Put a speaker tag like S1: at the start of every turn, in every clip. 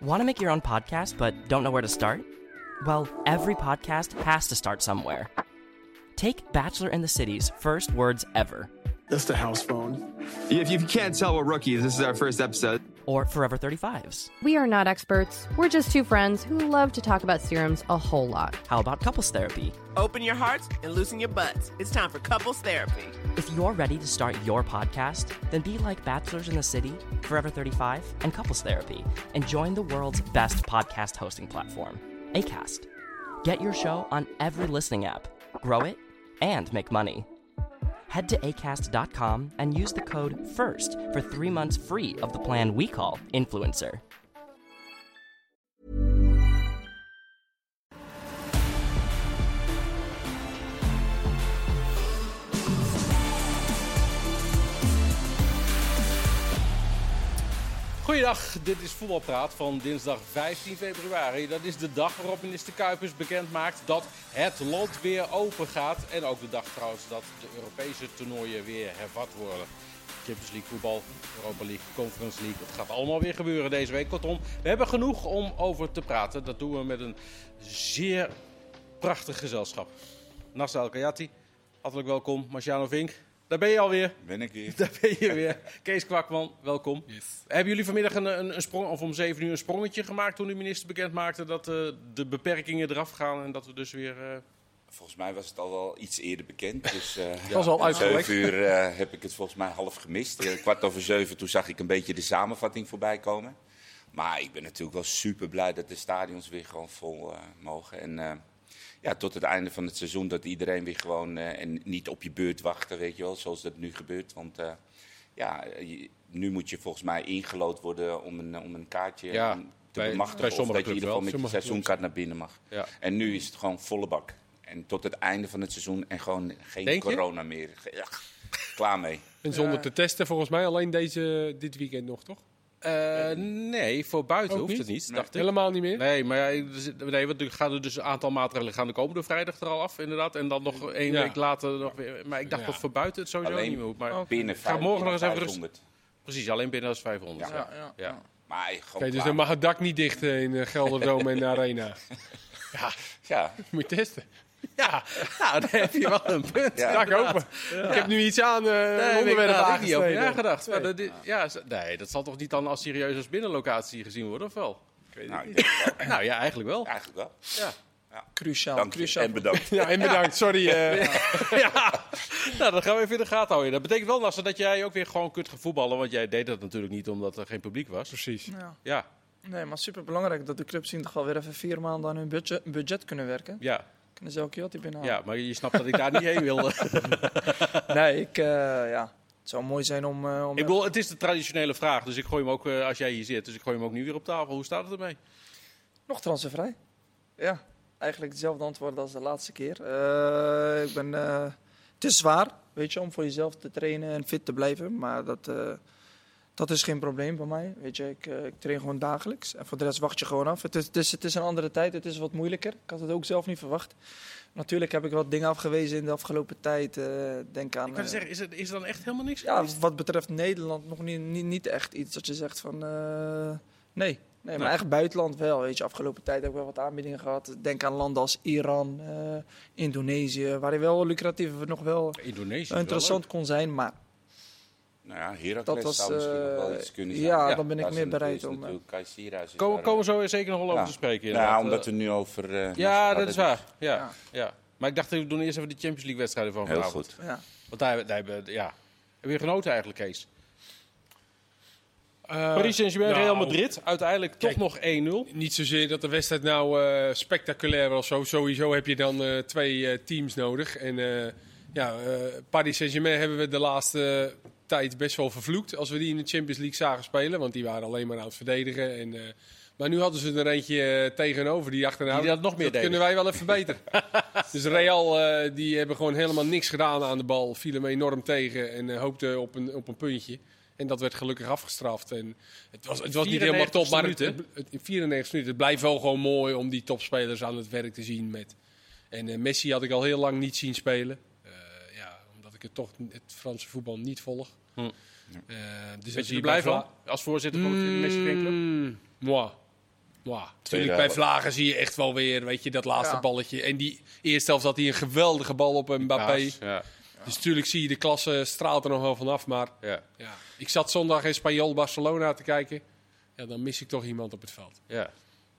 S1: Want to make your own podcast but don't know where to start? Well, every podcast has to start somewhere. Take Bachelor in the City's first words ever,
S2: That's the house phone.
S3: If you can't tell, we're rookies. This is our first episode.
S1: or Forever 35's.
S4: We are not experts. We're just two friends who love to talk about serums a whole lot.
S1: How about couples therapy?
S5: Open your hearts and loosen your butts. It's time for couples therapy.
S1: If you're ready to start your podcast, then be like Bachelors in the City, Forever 35, and Couples Therapy, and join the world's best podcast hosting platform, ACAST. Get your show on every listening app, grow it, and make money. Head to acast.com and use the code FIRST for three months free of the plan we call Influencer.
S6: Goeiedag, dit is Voetbalpraat van dinsdag 15 februari. Dat is de dag waarop minister Kuipers bekend maakt dat het land weer open gaat. En ook de dag trouwens dat de Europese toernooien weer hervat worden. Champions League voetbal, Europa League, Conference League. Het gaat allemaal weer gebeuren deze week. Kortom, we hebben genoeg om over te praten. Dat doen we met een zeer prachtig gezelschap. Nasser El Kayati, hartelijk welkom. Marciano Vink, daar ben je alweer.
S7: Ben ik hier.
S6: Daar ben je weer. Kees Kwakman, welkom. Hebben jullie vanmiddag een, een, een sprong, of om 7 uur een sprongetje gemaakt toen de minister bekend maakte dat eh, de beperkingen eraf gaan en dat we dus weer. eh,
S7: Volgens mij was het al wel iets eerder bekend. Dus, eh
S8: was al
S7: om
S8: uitgelekt.
S7: Zeven uur eh, heb ik het volgens mij half gemist. Eh, kwart over zeven, toen zag ik een beetje de samenvatting voorbij komen. Maar ik ben natuurlijk wel super blij dat de stadions weer gewoon vol eh, mogen. En eh, ja, tot het einde van het seizoen dat iedereen weer gewoon... eh, en niet op je beurt wachten, weet je wel, zoals dat nu gebeurt. Want eh, ja, je- nu moet je volgens mij ingelood worden om een, om een kaartje...
S6: Ja,
S7: om te
S6: bij- bij
S7: bemachtigen of dat
S6: sommige
S7: je in
S6: clubs
S7: ieder
S6: wel.
S7: geval met je
S6: Sommige clubs.
S7: seizoenkaart naar binnen mag.
S6: Ja.
S7: En nu is het gewoon volle bak. En tot het einde van het seizoen en gewoon geen
S6: Denk je?
S7: corona meer. Ge- Ja, klaar mee.
S8: En zonder
S9: Eh.
S8: te testen, volgens mij alleen deze, dit weekend nog, toch?
S6: eh, nee, voor buiten
S8: Ook
S6: hoeft het
S8: niet?
S6: niet, dacht ik.
S8: Helemaal niet meer?
S6: Nee, maar ja, er zit- nee, want er gaan er dus een aantal maatregelen gaan de komende vrijdag er al af, inderdaad. En dan nog één
S8: Ja.
S6: week later nog weer. Maar ik dacht
S8: Ja.
S6: dat voor buiten het sowieso
S7: Alleen
S6: niet meer hoeft. Maar
S7: Binnen
S6: ga
S7: vijf-
S6: morgen nog eens even rustig.
S7: 500.
S6: Precies, alleen binnen als 500.
S7: Ja.
S6: Ja. Ja.
S7: Maar gewoon
S8: Oké, dus
S7: klaar.
S8: dan mag het dak niet dicht eh, in eh, Gelderdome en de Arena.
S7: Ja,
S8: Moet je testen.
S6: Ja, nou, daar heb je wel een punt.
S7: Ja.
S8: Dak
S6: inderdaad.
S8: open. Ik heb nu iets aan eh
S6: Nee,
S8: onderwerpen
S6: onderwerp daar had ik niet over
S8: aangesneden.
S6: nagedacht. Maar dat, i- ja, z- nee, dat zal toch niet dan als serieus als binnenlocatie gezien worden, of wel?
S7: nou, ik denk het wel.
S6: Nou ja, eigenlijk wel.
S7: eigenlijk wel.
S6: Ja.
S8: Cruciaal.
S7: Dank je en bedankt.
S8: Ja, en bedankt. Sorry. eh.
S6: ja. Nou, dat gaan we even in de gaten houden. Dat betekent wel, Nasser, dat jij ook weer gewoon kunt gaan voetballen. Want jij deed dat natuurlijk niet omdat er geen publiek was.
S8: Precies.
S9: Ja.
S6: Ja,
S9: Nee, maar super belangrijk dat de clubs zien toch alweer even vier maanden aan hun budget, budget kunnen werken.
S6: ja,
S9: Kunnen ze elke Jotty binnenhalen?
S6: ja, maar je snapt dat ik daar niet heen wilde.
S9: Nee, ik, eh, ja. Het zou mooi zijn om. eh, om
S6: ik bedoel, het is de traditionele vraag. Dus ik gooi hem ook, eh, als jij hier zit, dus ik gooi hem ook nu weer op tafel. Hoe staat het ermee?
S9: Nog transfervrij. Ja, eigenlijk hetzelfde antwoord als de laatste keer. Eh, ik ben, eh, het is zwaar, weet je, om voor jezelf te trainen en fit te blijven. Maar dat, eh, dat is geen probleem bij mij. Weet je, ik, eh, ik train gewoon dagelijks. En voor de rest wacht je gewoon af. Het is, het, is, het is een andere tijd, het is wat moeilijker. Ik had het ook zelf niet verwacht. Natuurlijk heb ik wat dingen afgewezen in de afgelopen tijd. eh, denk aan.
S6: Ik kan
S9: eh,
S6: zeggen, is er, is er dan echt helemaal niks?
S9: ja, wat betreft Nederland nog niet, niet, niet echt iets dat je zegt van... eh, nee. nee, maar echt buitenland wel. Weet je, afgelopen tijd heb ik wel wat aanbiedingen gehad. Denk aan landen als Iran, eh, Indonesië, waar je wel lucratief nog wel
S6: Indonesië. is wel
S9: interessant
S6: leuk.
S9: kon zijn. Maar
S7: Nou ja,
S9: Dat
S7: Heracles
S9: was,
S7: zou misschien nog
S9: eh,
S7: wel iets kunnen zijn.
S9: ja, dan ben ik
S7: daar
S9: meer
S7: is
S9: bereid
S7: is
S9: om, eh,
S7: natuurlijk Kai Sierhuis is
S6: Komen
S7: daar,
S6: komen
S7: eh,
S6: we zo zeker nog wel over
S7: ja.
S6: te spreken. inderdaad.
S7: Nou, omdat we nu over... eh,
S6: Ja,
S7: Nasser
S6: dat is
S7: hadden.
S6: waar. Ja, ja. Maar ik dacht, we doen eerst even de Champions League wedstrijden van
S7: Heel
S6: vanavond.
S7: goed.
S9: ja,
S6: Want daar, daar hebben we- ja. Heb je genoten eigenlijk, Kees?
S8: Eh,
S6: Paris Saint-Germain,
S8: nou,
S6: Real Madrid. Uiteindelijk
S8: Kijk.
S6: toch nog 1-0.
S8: Niet zozeer dat de wedstrijd nou eh, spectaculair was. Zo, sowieso heb je dan eh, twee eh, teams nodig. En eh, ja, eh, Paris Saint-Germain hebben we de laatste tijd best wel vervloekt. Als we die in de Champions League zagen spelen. Want die waren alleen maar aan het verdedigen. En, eh, maar nu hadden ze er eentje eh, tegenover die achterna.
S6: Die dat nog meer deden.
S8: kunnen wij wel even beter. dus Real, eh, die hebben gewoon helemaal niks gedaan aan de bal. Vielen me enorm tegen en eh, hoopten op een, op een puntje. En dat werd gelukkig afgestraft. En het was, het was niet helemaal top, maar het,
S6: 94ste
S8: het, in 94 minuten. Het blijft wel gewoon mooi om die topspelers aan het werk te zien. Met. En eh, Messi had ik al heel lang niet zien spelen. Eh, ja, omdat ik het toch het Franse voetbal niet volg.
S6: Hm.
S8: Eh, dus
S6: Ben
S8: als
S6: je er
S8: je Mm.
S6: blij van? Als voorzitter van de Messi fanclub?
S8: Moi. Ja,
S7: Tweede
S8: natuurlijk bij
S7: helft.
S8: Vlagen zie je echt wel weer, weet je, dat laatste
S9: Ja.
S8: balletje. En die eerste helft had hij een geweldige bal op een Mbappé.
S6: Paas, Ja,
S8: Dus natuurlijk zie je de klasse straalt er nog wel vanaf. Maar
S6: ja,
S8: ja, ik zat zondag in Spanjol Barcelona te kijken. Ja, dan mis ik toch iemand op het veld.
S6: ja.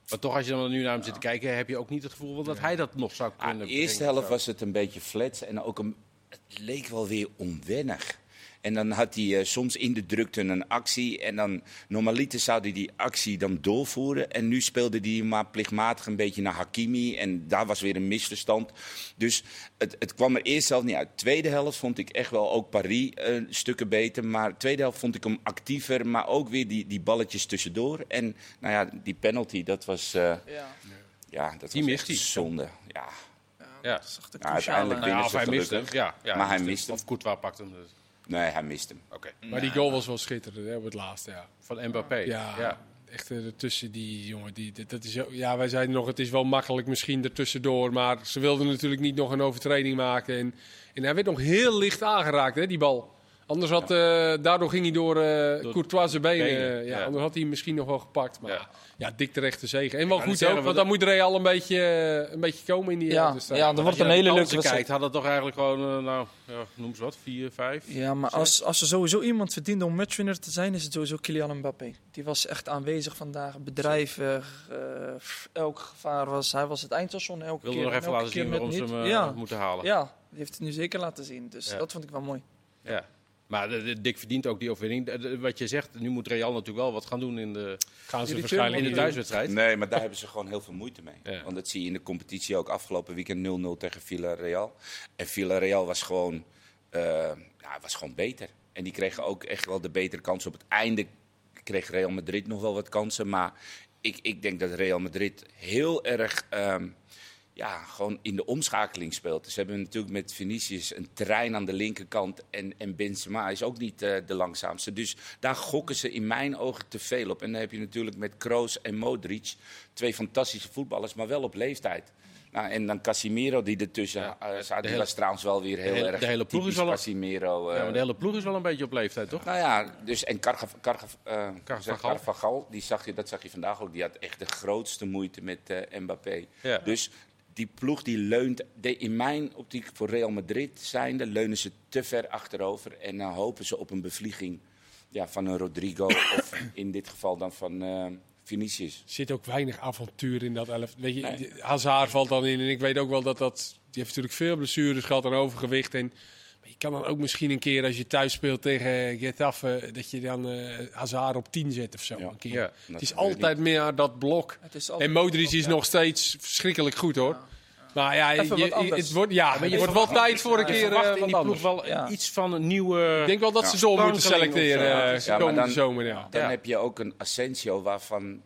S6: Maar toch, als je dan nu naar hem zit te kijken, heb je ook niet het gevoel dat hij dat nog zou
S7: Ah,
S6: kunnen.
S7: de
S6: brengen of
S7: eerste
S6: zo.
S7: helft was het een beetje flats en ook een, het leek wel weer onwennig. En dan had hij eh, soms in de drukte een actie. En dan normaliter zou hij die actie dan doorvoeren. En nu speelde hij maar plichtmatig een beetje naar Hakimi. En daar was weer een misverstand. Dus het, het kwam er eerst zelf niet uit. Tweede helft vond ik echt wel ook Paris eh, stukken beter. Maar tweede helft vond ik hem actiever. Maar ook weer die, die balletjes tussendoor. En nou ja, die penalty, dat was, eh,
S9: Ja,
S7: ja, dat
S6: Die
S7: was
S6: mist
S7: echt
S6: hij.
S7: zonde. Ja.
S6: Ja.
S9: dat is echt een
S7: Ja,
S9: cruciale-
S7: uiteindelijk-
S6: Nou ja,
S7: Binnen
S6: of hij
S7: is het
S6: mist hem.
S7: gelukkig.
S6: Ja, ja,
S7: Maar hij mist hem.
S6: Of Courtois pakt hem. Dus.
S7: Nee, hij mist hem.
S6: Oké.
S8: Maar die goal was wel schitterend hè, op het laatste, ja.
S6: Van Mbappé.
S8: Ja,
S6: ja.
S8: echt eh, ertussen die jongen. Die, dat- dat is, ook- ja, wij zeiden nog, het is wel makkelijk misschien ertussendoor. Maar ze wilden natuurlijk niet nog een overtreding maken. En, en hij werd nog heel licht aangeraakt, hè, die bal. Anders had, eh, daardoor ging hij door, eh
S6: Door
S8: Courtois zijn benen.
S6: benen,
S8: ja,
S6: ja.
S8: Anders had hij hem misschien nog wel gepakt. Maar ja,
S6: Ja.
S8: dik terechte zegen. En wel
S6: wou
S8: goed
S6: net zeggen,
S8: ook, want
S6: want
S8: dan moet Real een beetje, eh, een beetje komen in die
S9: Ja,
S8: dus, eh,
S9: ja, er wordt een hele leuke wedstrijd.
S6: kijkt, had het toch eigenlijk gewoon, eh, nou, ja, noem eens wat, 4, 5.
S9: Ja, maar als, als er sowieso iemand verdient om matchwinner te zijn, is het sowieso Kylian Mbappé. Die was echt aanwezig vandaag, bedrijvig, eh, pff, elk gevaar was. Hij was het eindstation elke
S6: Wilde
S9: keer.
S6: nog
S9: en
S6: even
S9: elke
S6: laten
S9: keer
S6: zien
S9: met
S6: waarom ze
S9: niet.
S6: hem eh,
S9: ja,
S6: moeten halen. Ja.
S9: ja, die heeft het nu zeker laten zien. Dus
S6: Ja.
S9: dat vond ik wel mooi.
S6: Maar de, de- Dick verdient ook die overwinning. De- de- wat je zegt, nu moet Real natuurlijk wel wat gaan doen in de,
S8: gaan ze
S9: die
S8: waarschijnlijk
S6: in de
S8: niet doen.
S6: thuiswedstrijd.
S7: Nee, maar daar hebben ze gewoon heel veel moeite mee.
S6: Ja.
S7: Want dat zie je in de competitie ook. Afgelopen weekend 0-0 tegen Villarreal. En Villarreal was gewoon, eh, ja, was gewoon beter. En die kregen ook echt wel de betere kansen. Op het einde kreeg Real Madrid nog wel wat kansen. Maar ik, ik denk dat Real Madrid heel erg... ehm, ja, gewoon in de omschakeling speelt. Ze hebben natuurlijk met Vinicius een trein aan de linkerkant. En, en Benzema is ook niet eh, de langzaamste. Dus daar gokken ze in mijn ogen te veel op. En dan heb je natuurlijk met Kroos en Modric twee fantastische voetballers, maar wel op leeftijd. Nou, en dan Casimiro die ertussen
S6: Ja,
S7: eh,
S6: de
S7: zat. Die
S6: hele-
S7: was trouwens wel weer heel
S6: hele-
S7: erg
S6: de hele ploeg is
S7: typisch
S6: wel een-
S7: Casimiro. eh,
S6: Ja, maar de hele ploeg is wel een beetje op leeftijd, toch?
S7: nou ja, dus en Kargav, Kargav, eh,
S6: Carvajal.
S7: Carvajal, die zag je, dat zag je vandaag ook, die had echt de grootste moeite met eh, Mbappé.
S6: Ja.
S7: Dus die ploeg die leunt, de, in mijn optiek voor Real Madrid zijnde, leunen ze te ver achterover en dan hopen ze op een bevlieging ja, van een Rodrigo of in dit geval dan van eh Vinicius.
S8: zit ook weinig avontuur in dat elf. Weet je, de- Hazard valt dan in. En ik weet ook wel dat dat... Die heeft natuurlijk veel blessures gehad en overgewicht. En maar je kan dan ook misschien een keer, als je thuis speelt tegen Getafe... dat je dan eh Hazard op 10 zet of zo.
S7: Ja.
S8: Een keer.
S6: Ja, dat
S8: het is
S7: gebeurt
S8: altijd meer dat blok.
S9: Het is altijd
S8: En Modric
S9: dat
S8: is
S9: blok,
S8: nog steeds verschrikkelijk goed, hoor. Maar ja,
S9: Even
S8: je,
S9: wat
S8: je-
S9: anders.
S8: het wordt, ja, maar je wordt wel tijd voor een
S9: Ja, je
S8: keer
S6: Verwacht
S8: eh,
S6: in die
S8: wat
S6: ploeg wel
S8: anders.
S9: Ja.
S6: iets van een nieuwe...
S8: Ik denk wel dat ze zo
S6: sprankeling
S8: moeten
S6: of zo.
S8: selecteren eh,
S6: Ja,
S7: maar
S8: komende
S7: dan-
S8: zomer. Ja.
S7: Dan
S6: Ja.
S7: heb je ook een Asensio waarvan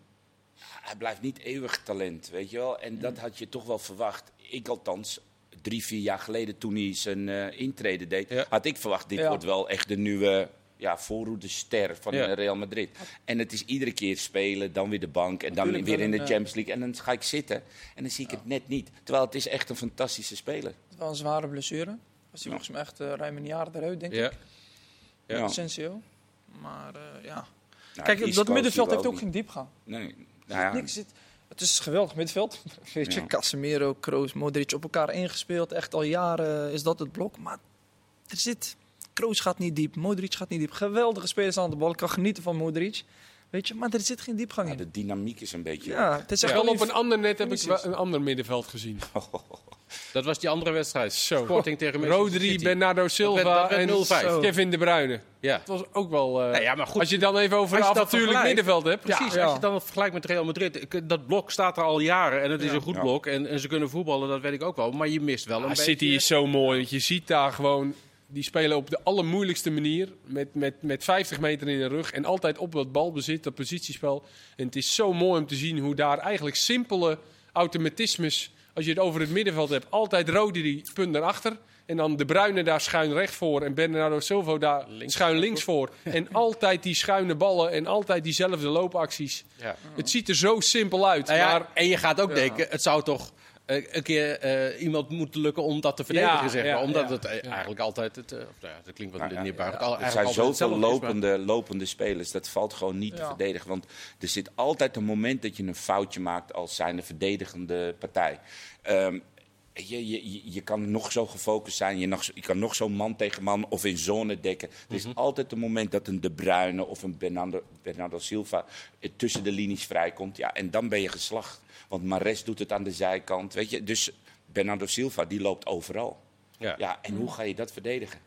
S7: ah, hij blijft niet eeuwig talent, weet je wel. En
S9: Mm.
S7: dat had je toch wel verwacht. Ik althans, drie, vier jaar geleden toen hij zijn eh intrede deed,
S6: Ja.
S7: had ik verwacht, dit
S9: Ja.
S7: wordt wel echt de nieuwe ja, voorroederster van
S6: Ja.
S7: eh, Real Madrid. En het is iedere keer spelen, dan weer de bank en dan
S9: Natuurlijk
S7: weer
S9: wel
S7: in de
S9: een, eh,
S7: Champions League. En dan ga ik zitten en dan zie ik het net niet. Terwijl het is echt een fantastische speler.
S9: Het was wel een zware blessure. Was hij volgens mij echt eh, ruim een jaar eruit, denk ik.
S6: Ja. Ja.
S9: Asensio. Maar eh, ja.
S7: Nou,
S9: Kijk,
S7: Isco
S9: dat
S7: zie
S9: middenveld
S7: we
S9: heeft ook
S7: niet.
S9: geen diepgang.
S7: Nee, nou ja,
S9: Niks zit. Het is een geweldig middenveld. Weet je,
S7: Ja.
S9: Casemiro, Kroos, Modric op elkaar ingespeeld. Echt al jaren is dat het blok. Maar er zit... Kroos gaat niet diep, Modric gaat niet diep. Geweldige spelers aan de bal. Ik kan genieten van Modric. Weet je, maar er zit geen diepgang
S7: nou,
S9: in.
S7: de dynamiek is een beetje...
S9: Ja, het is echt
S8: Wel
S9: wel
S8: op een ander net heb ik
S9: Vinicius.
S8: wel een ander middenveld gezien.
S6: Dat was die andere wedstrijd.
S8: Zo.
S6: Sporting tegen Manchester
S8: Rodri,
S6: City.
S8: Bernardo
S6: Dat
S8: Silva
S6: werd- dat werd
S8: en
S6: 0-5.
S8: Zo. Kevin de Bruyne.
S6: Ja.
S8: Dat was ook wel... eh,
S6: Nou ja, maar goed.
S8: Als je dan even over een
S6: Als je dat
S8: avontuurlijk
S6: vergelijkt-
S8: middenveld hebt.
S6: Precies,
S9: Ja.
S6: als je dan het vergelijkt met Real Madrid. ik- Dat blok staat er al jaren en het is een goed
S7: Ja.
S6: blok. En, en ze kunnen voetballen, dat weet ik ook wel. Maar je mist wel een
S8: Ah,
S6: beetje... eh,
S8: City is zo mooi. want Je ziet daar gewoon... Die spelen op de allermoeilijkste manier. Met, met, met 50 meter in de rug. En altijd op dat balbezit, dat positiespel. En het is zo mooi om te zien hoe daar eigenlijk simpele automatismes... Als je het over het middenveld hebt. Altijd Rodri, punt daarachter. En dan de Bruyne daar schuin recht voor. En Bernardo Silva daar schuin links voor. En altijd die schuine ballen. En altijd diezelfde loopacties.
S6: Ja.
S8: Het ziet er zo simpel uit.
S6: Nou ja,
S8: maar
S6: en je gaat ook denken, het zou toch eh, een keer eh, iemand moet lukken om dat te verdedigen,
S8: Ja,
S6: zeg maar.
S8: ja,
S6: Omdat
S8: ja,
S6: het eh,
S8: ja.
S6: eigenlijk altijd het... eh, of, nou ja, dat klinkt wat
S7: Nou ja,
S6: neerbuigend.
S7: ja,
S6: Al-
S7: er
S6: eigenlijk
S7: zijn
S6: altijd
S7: zoveel
S6: hetzelfde is, maar-
S7: lopende, lopende spelers. Dat valt gewoon niet te
S9: Ja.
S7: verdedigen. Want er zit altijd een moment dat je een foutje maakt als zijnde verdedigende partij. Ehm, je, je, je- je kan nog zo gefocust zijn. Je, nog, zo- je kan nog zo man tegen man of in zone dekken. Er is
S6: Mhm.
S7: altijd een moment dat een De Bruyne of een Bernardo, Bernardo Silva eh, tussen de linies vrijkomt. Ja, en dan ben je geslacht. Want Mares doet het aan de zijkant. Weet je? Dus Bernardo Silva die loopt overal.
S6: Ja.
S7: Ja, en hoe ga je dat verdedigen?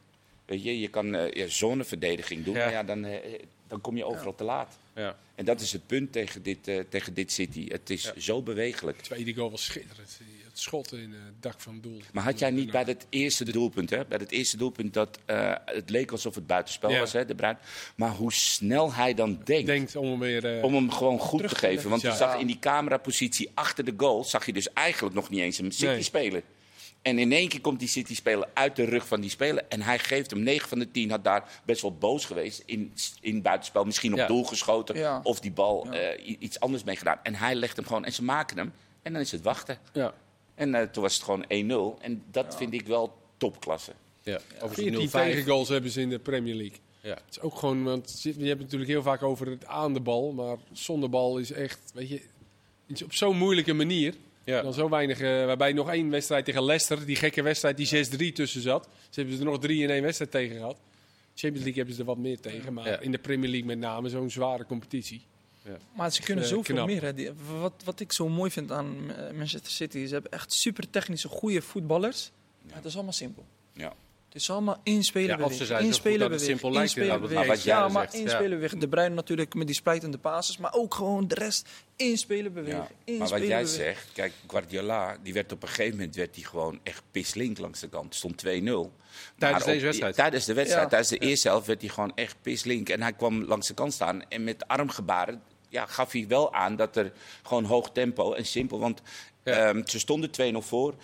S7: Weet je, je kan eh ja, zonneverdediging doen,
S6: Ja.
S7: maar ja, dan, eh, eh, dan kom je overal te laat.
S6: Ja.
S7: En dat is het punt tegen dit, eh, tegen dit City. Het is zo bewegelijk.
S8: Tweede goal was schitterend. Die- Het schot in eh, het dak van het doel.
S7: Maar had jij niet bij het eerste doelpunt, hè? bij het eerste doelpunt dat eh, het leek alsof het buitenspel
S8: Ja.
S7: was, hè, de Bruin. Maar hoe snel hij dan denkt.
S8: Denkt om hem weer... eh,
S7: Om hem gewoon goed te geven. Want
S8: ja.
S7: je zag in die camerapositie achter de goal. zag je dus eigenlijk nog niet eens een City-speler. En in één keer komt die City-speler uit de rug van die speler. En hij geeft hem 9 van de 10. Had daar best wel boos geweest. In, in buitenspel. Misschien op
S6: Ja.
S7: doel geschoten.
S9: Ja.
S7: Of die bal eh, i- iets anders mee gedaan. En hij legt hem gewoon. En ze maken hem. En dan is het wachten.
S6: Ja.
S7: En eh, toen was het gewoon 1-0. En dat vind ik wel topklasse.
S6: Ja. Overigens
S8: 14
S6: 0-5.
S8: tegengoals hebben ze in de Premier League.
S6: Ja.
S8: Het is ook gewoon, want je je hebt het natuurlijk heel vaak over het aan de bal, maar zonder bal is echt, weet je, iets op zo'n moeilijke manier.
S6: Ja.
S8: Dan zo weinig, eh, waarbij nog één wedstrijd tegen Leicester, die gekke wedstrijd die 6-3 tussen zat. Ze hebben er nog drie in één wedstrijd tegen gehad. Champions League hebben ze er wat meer tegen, maar
S6: Ja.
S8: in de Premier League met name zo'n zware competitie.
S9: Maar ze kunnen
S8: eh,
S9: zoveel
S8: knap.
S9: meer. Hè. Die- wat, wat ik zo mooi vind aan eh, Manchester City, ze hebben echt super technische, goede voetballers. Maar het is allemaal simpel.
S7: Ja.
S9: Het is allemaal één speler
S6: Ja, of ze
S9: bewegen,
S6: zijn
S9: één
S6: zo goed
S9: speler
S6: dat het
S9: bewegen,
S6: simpel
S9: één
S6: lijkt
S9: speler
S6: inderdaad, wat
S9: bewegen.
S7: Maas jij
S9: Ja,
S7: dus
S9: maar
S6: zegt,
S9: één
S6: ja.
S9: speler bewegen. De Bruyne natuurlijk met die splijtende passes, maar ook gewoon de rest. Eén speler bewegen,
S7: Ja.
S9: één
S7: Maar wat
S9: speler
S7: jij
S9: bewegen.
S7: zegt, kijk, Guardiola, die werd op een gegeven moment werd die gewoon echt pislink langs de kant. Stond 2-0. Maar op-
S6: deze wedstrijd?
S7: Tijdens de wedstrijd,
S9: Ja.
S7: tijdens de eerste helft werd hij gewoon echt pislink. En hij kwam langs de kant staan en met armgebaren ja, gaf hij wel aan dat er gewoon hoog tempo en simpel. Want ehm, ze stonden 2-0 voor.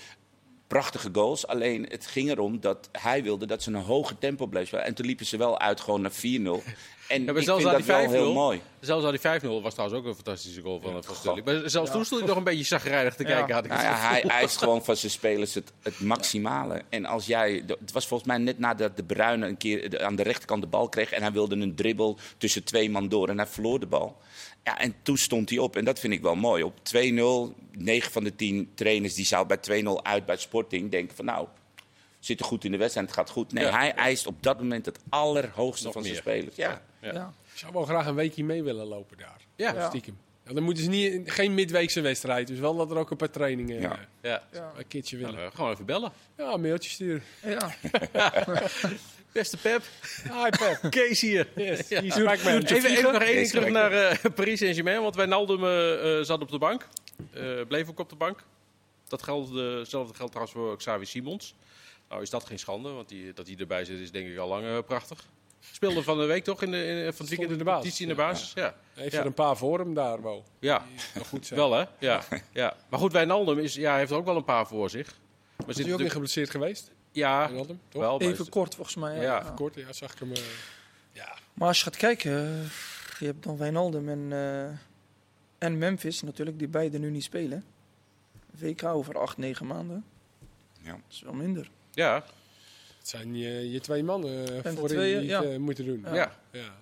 S7: Prachtige goals, alleen het ging erom dat hij wilde dat ze een hoger tempo bleef spelen. En toen liepen ze wel uit gewoon naar 4-0. En
S6: Ja,
S7: ik
S6: maar zelfs
S7: vind
S6: al
S7: dat
S6: die 5-0,
S7: wel heel mooi.
S6: zelfs al die 5-0 was trouwens ook een fantastische goal van, van Sterling. Maar zelfs toen stond ik nog een beetje chagrijnig te kijken. Had ik
S7: Nou
S6: het
S7: ja, hij eist gewoon van zijn spelers het, het maximale. En als jij, het was volgens mij net nadat de Bruine een keer de- aan de rechterkant de bal kreeg. En hij wilde een dribbel tussen twee man door. En hij verloor de bal. Ja, en toen stond hij op. En dat vind ik wel mooi. Op 2-0, 9 van de 10 trainers die zou bij 2-0 uit bij Sporting denken van nou... we Zitten goed in de wedstrijd, het gaat goed. Nee,
S6: Ja.
S7: hij eist op dat moment het allerhoogste
S6: Nog
S7: van zijn
S6: meer.
S7: spelers. Ja.
S9: Ja.
S8: Ik zou wel graag een weekje mee willen lopen daar.
S6: Ja.
S8: Gewoon Stiekem. Ja, dan moeten ze niet, geen midweekse wedstrijd, dus wel dat er ook een paar trainingen
S7: Ja.
S8: eh,
S6: Ja.
S8: een keertje willen.
S6: Nou, eh, gewoon even bellen.
S8: Ja, een mailtje sturen.
S9: Ja.
S6: Beste Pep.
S8: Hi Pep.
S6: Kees hier. Ja.
S8: Die sprak mij.
S6: Even, even nog één ding
S7: Kees
S6: terug naar
S7: Rijker.
S6: eh, Paris Saint-Germain. Want Wijnaldum eh, eh, zat op de bank. Eh, bleef ook op de bank. Dat geldt, eh, hetzelfde geldt trouwens voor Xavi Simons. Nou is dat geen schande, want die, dat hij erbij zit is denk ik al lang eh, prachtig. Speelde van de week toch? In de, in, van het weekend
S8: in
S6: in
S8: de
S6: de
S8: basis.
S6: competitie in de basis. Ja.
S8: Heeft
S6: Ja.
S8: er een paar voor hem daar, Wo.
S6: Ja,
S8: goed zijn.
S6: wel hè? Ja. ja. Maar goed, Wijnaldum is, ja, heeft er ook wel een paar voor zich. Maar zit
S8: Is hij ook weer
S6: natuurlijk-
S8: geblesseerd geweest?
S6: ja,
S8: Wijnaldum, toch?
S6: wel. maar
S9: Even
S6: is-
S9: kort volgens mij. ja.
S6: Ja.
S9: Ja.
S8: Kort, ja, zag ik hem. eh,
S9: Maar als je gaat kijken, eh, je hebt dan Wijnaldum en, eh, en Memphis natuurlijk, die beide nu niet spelen. WK over 8, 9 maanden.
S7: Ja.
S9: Dat is wel minder.
S6: Ja,
S8: het zijn je, je twee mannen eh,
S9: de
S8: voorin
S9: tweeën,
S8: die het eh, moeten doen.
S6: ja.
S8: ja.
S6: ja.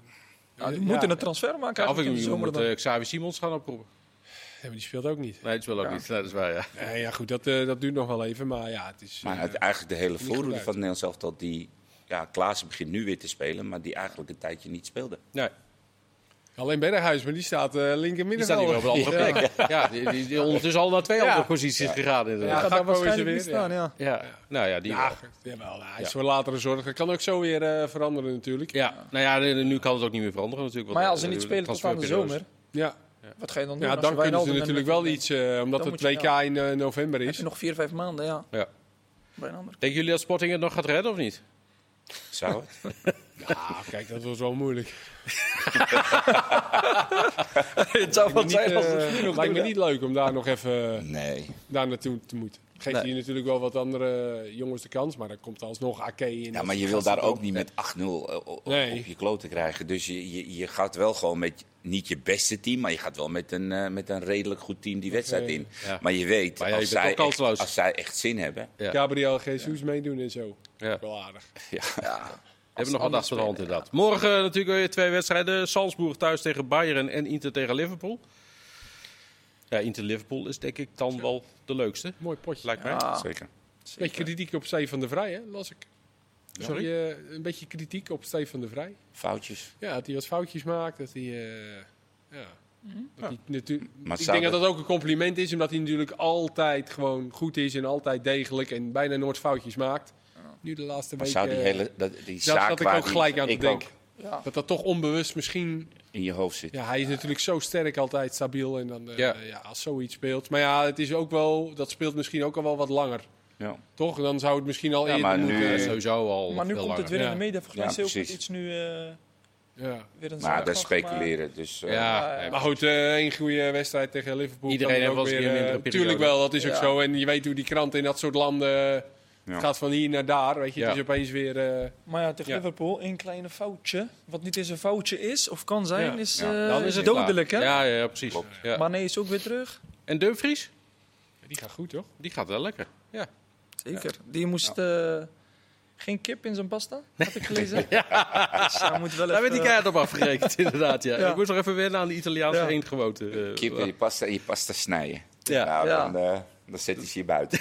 S9: Nou, die
S8: Ja,
S9: moeten
S8: ja.
S9: een transfer maken.
S6: of
S9: eigenlijk
S6: ik
S9: in de
S6: moet
S9: zomer
S6: met,
S9: dan.
S6: eh, Xavi Simons gaan oproepen.
S8: Ja, maar die speelt ook niet.
S6: Nee, dat is wel ook niet. Nee, dat is waar, ja.
S8: Nee, ja, goed, dat, eh, dat duurt nog wel even, maar ja, het is...
S7: Maar
S8: eh,
S7: het- eigenlijk de hele
S8: goed
S7: voorhoede van
S8: uit.
S7: het Nederlands elftal die... Ja, Klaassen begint nu weer te spelen, maar die eigenlijk een tijdje niet speelde.
S6: Nee,
S8: alleen Berghuis, maar die staat eh linker
S6: die staat niet meer op een andere
S8: Ja.
S6: plek. Ja, die, die, die ondertussen al naar twee
S8: Ja.
S6: andere posities gegaan
S8: Ja,
S6: inderdaad.
S9: Gaat
S8: Gakpo is
S9: daar
S8: er
S9: waarschijnlijk
S8: weer,
S9: niet staan, ja.
S6: Ja. nou ja, die
S8: Ja,
S6: wel.
S8: jawel, nou, hij is voor latere zorg. Dat kan ook zo weer eh, veranderen natuurlijk.
S6: Ja, nou ja, nu- nu kan het ook niet meer veranderen natuurlijk. want,
S9: Maar ja, als
S6: eh,
S9: ze niet
S6: de
S9: spelen tot aan de
S6: transferperiode
S9: zomer,
S8: Ja,
S9: wat ga je dan doen?
S8: ja
S9: Als
S8: dan
S6: dus
S9: je
S8: kunnen ze
S9: Wijnaldum en
S8: natuurlijk
S9: Memphis
S8: wel iets, eh, omdat
S9: Dan
S8: het
S9: moet
S8: WK
S9: je- ja.
S8: in eh, november
S9: Heb
S8: is.
S9: je nog vier, vijf maanden, ja.
S6: is. Ja.
S9: Bij een ander.
S6: Denken jullie dat Sporting het nog gaat redden of niet?
S7: Zou het?
S8: Ah, kijk, dat was wel moeilijk.
S9: Het zou
S8: Niet, eh, lijkt me niet leuk om daar nog even
S7: Nee.
S8: daar naartoe te moeten. Geeft
S9: Nee.
S8: hier natuurlijk wel wat andere eh, jongens de kans, maar dan komt alsnog Ake in.
S7: Ja, maar je wil daar ook niet met 8-0 o- o-
S8: Nee.
S7: op je kloten krijgen. Dus je, je, je gaat wel gewoon met niet je beste team, maar je gaat wel met een, eh, met een redelijk goed team die wedstrijd in.
S10: ja.
S7: Maar je weet,
S10: Maar ja, je
S7: als,
S10: bent
S7: zij
S10: ook
S7: echt,
S10: kansloos.
S7: als zij echt zin hebben.
S10: Ja.
S8: Gabriel Jesus meedoen en zo.
S10: Ja.
S8: Wel aardig.
S10: We hebben nog wat achter de hand inderdaad. Morgen natuurlijk weer twee wedstrijden. Salzburg thuis tegen Bayern en Inter tegen Liverpool. Ja, Inter-Liverpool is denk ik dan wel de leukste.
S8: Mooi potje.
S10: Lijkt mij.
S7: Zeker.
S8: beetje kritiek op Stefan de Vrij, hè, las ik.
S10: Sorry?
S8: Die, eh, een beetje kritiek op Stefan de Vrij.
S7: Foutjes.
S8: Ja, dat hij wat foutjes maakt. Dat hij. eh, ja. Dat hij natu-
S7: Maar
S8: ik
S7: zou
S8: denk dat
S7: dat-
S8: dat ook een compliment is, omdat hij natuurlijk altijd gewoon goed is en altijd degelijk en bijna nooit foutjes maakt. Nu de laatste
S7: Maar
S8: week.
S7: zou die
S8: eh,
S7: hele dat, die
S8: dat
S7: zaak
S8: zat ik
S7: waar
S8: ook
S7: die-
S8: gelijk aan te
S7: ik ook,
S8: denken. Dat dat toch onbewust misschien.
S7: in je hoofd zit.
S8: Ja, hij is natuurlijk zo sterk, altijd stabiel. En dan eh,
S10: Ja.
S8: ja, als zoiets speelt. Maar ja, het is ook wel. Dat speelt misschien ook al wel wat langer.
S7: Ja.
S8: Toch? Dan zou het misschien al
S7: Ja,
S8: eerder
S7: maar nu-
S8: moeten-
S6: eh,
S10: Ja, sowieso al
S11: Maar nu
S10: veel
S11: komt het
S10: langer.
S11: weer in
S8: Ja.
S11: de media. Volgens mij
S7: Ja,
S11: is heel goed
S7: precies.
S11: iets nu eh,
S8: Ja.
S11: weer een
S7: Maar
S11: zaak
S7: dat
S11: van
S7: speculeren. Dus, eh,
S10: Ja, nee,
S8: Maar goed, eh, één goede wedstrijd tegen Liverpool.
S10: Iedereen
S8: kan
S10: heeft
S8: dan ook
S10: wel eens een keer
S8: eh,
S10: een mindere
S8: Tuurlijk
S10: periode.
S8: wel, dat is ook zo. En je weet hoe die kranten in dat soort landen... eh,
S7: Ja.
S8: het gaat van hier naar daar, weet je.
S10: Ja.
S8: Het is opeens weer... eh,
S11: gemaakt. Maar ja, tegen
S8: Ja.
S11: Liverpool, één kleine foutje. Wat niet eens een foutje is of kan zijn,
S8: Ja.
S11: is,
S7: Ja.
S11: eh,
S10: dan is het
S11: dodelijk. Hè?
S10: klaar. Ja, ja, ja, precies. Ja.
S11: Maar nee, is ook weer terug.
S10: En Dumfries?
S8: die gaat goed, toch?
S10: Die gaat wel lekker. Ja.
S11: Zeker. Die moest eh, geen kip in zijn pasta, had ik gelezen. Dus hij moet wel
S10: Daar werd die
S11: even-
S10: keihard op afgerekend, inderdaad. Ja.
S11: Ja.
S10: Ik moest nog even wennen aan de Italiaanse
S11: Ja.
S10: eendgewoten. eh,
S7: Kip in je pasta, in je pasta snijden.
S10: Ja.
S7: Nou,
S11: Ja.
S7: dan, eh, dan zet hij ze je buiten.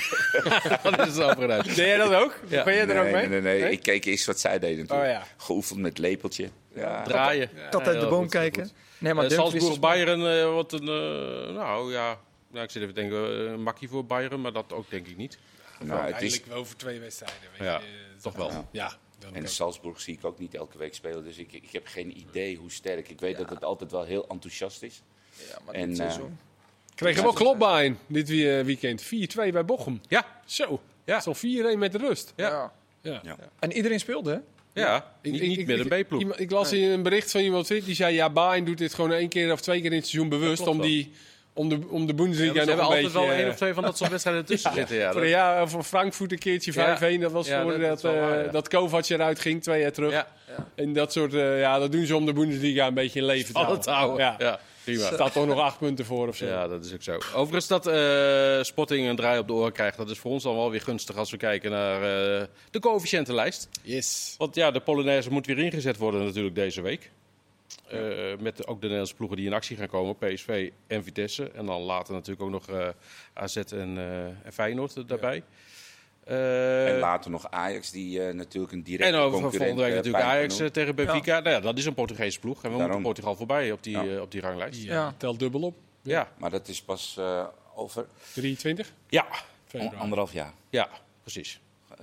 S10: Dat is het afgeruimd.
S8: Deed jij dat ook?
S10: Ja.
S8: Ben jij er
S7: nee,
S8: ook mee?
S7: nee, nee, nee. Ik keek eerst wat zij deden toen.
S8: Oh, ja.
S7: Geoefend met lepeltje. Ja.
S10: Draaien.
S11: Kat uit de boom kijken. Nee, maar
S10: Eh,
S11: Dumfries is-
S10: Salzburg-Bayern eh, wordt een... eh, nou ja, nou, ik zit even te denken, eh, een makkie voor Bayern, maar dat ook denk ik niet.
S7: Nou, het is,
S8: Eigenlijk wel voor twee wedstrijden, weet
S10: Ja,
S8: je. Eh,
S10: toch wel.
S8: Ja, dan
S7: en
S8: ook.
S7: Salzburg zie ik ook niet elke week spelen. Dus ik, ik heb geen idee hoe sterk. Ik weet dat het altijd wel heel enthousiast is.
S11: Ja, maar
S7: En,
S11: dit
S7: eh,
S11: seizoen.
S8: Kregen we wel klopbaan dit wie- eh, weekend. 4-2 bij Bochum.
S10: Ja,
S8: Zo.
S10: Ja.
S8: Ja. Zo'n 4-1 met de rust.
S10: Ja.
S11: Ja.
S8: Ja.
S11: En iedereen speelde, hè?
S10: ja. Niet,
S8: Ik-
S10: niet
S8: ik-
S10: met een
S8: ik-
S10: B-ploeg.
S8: iemand- Ik las in een bericht van iemand die zei: Ja, Bayern doet dit gewoon één keer of twee keer in het seizoen bewust om,
S10: klopt
S8: die, om de, om de Bundesliga
S10: We
S8: nog
S10: hebben
S8: een
S10: altijd
S8: beetje.
S10: wel één
S8: eh,
S10: of twee van dat soort wedstrijden tussen zitten. Ja,
S8: voor,
S10: Dat-
S8: een jaar- voor Frankfurt een keertje 5-1. Dat was
S10: Ja,
S8: voor
S10: dat-
S8: dat,
S10: dat is
S8: dat,
S10: wel waar, ja.
S8: dat Kovac eruit ging, twee jaar terug.
S10: ja.
S8: En dat soort, eh, ja, dat doen ze om de Bundesliga een beetje in leven te
S10: Al het oude.
S8: houden. Ja.
S10: Ja. prima.
S8: Er staat toch nog acht punten voor of zo.
S10: Ja, dat is ook zo. Overigens dat eh, Spotting een draai op de oren krijgt, dat is voor ons dan wel weer gunstig als we kijken naar eh, de coëfficiëntenlijst.
S8: Yes.
S10: Want ja, de Polonaise moet weer ingezet worden natuurlijk deze week. Eh, met ook de Nederlandse ploegen die in actie gaan komen. PSV en Vitesse. En dan later natuurlijk ook nog eh, AZ en, eh, en Feyenoord er daarbij. Eh,
S7: en later nog Ajax, die eh, natuurlijk een directe
S10: en over
S7: concurrent...
S10: volgende week
S7: eh,
S10: natuurlijk
S7: pijn kan
S10: Ajax eh,
S7: doen.
S10: tegen Benfica. Nou ja, dat is een Portugese ploeg. En we
S7: Daarom.
S10: moeten Portugal voorbij op die,
S7: Ja.
S10: eh, op die ranglijst. Ja.
S11: Ja.
S8: Telt dubbel op.
S7: Maar dat is pas eh, over
S8: 23.
S10: Ja.
S7: on- anderhalf jaar.
S10: ja, precies.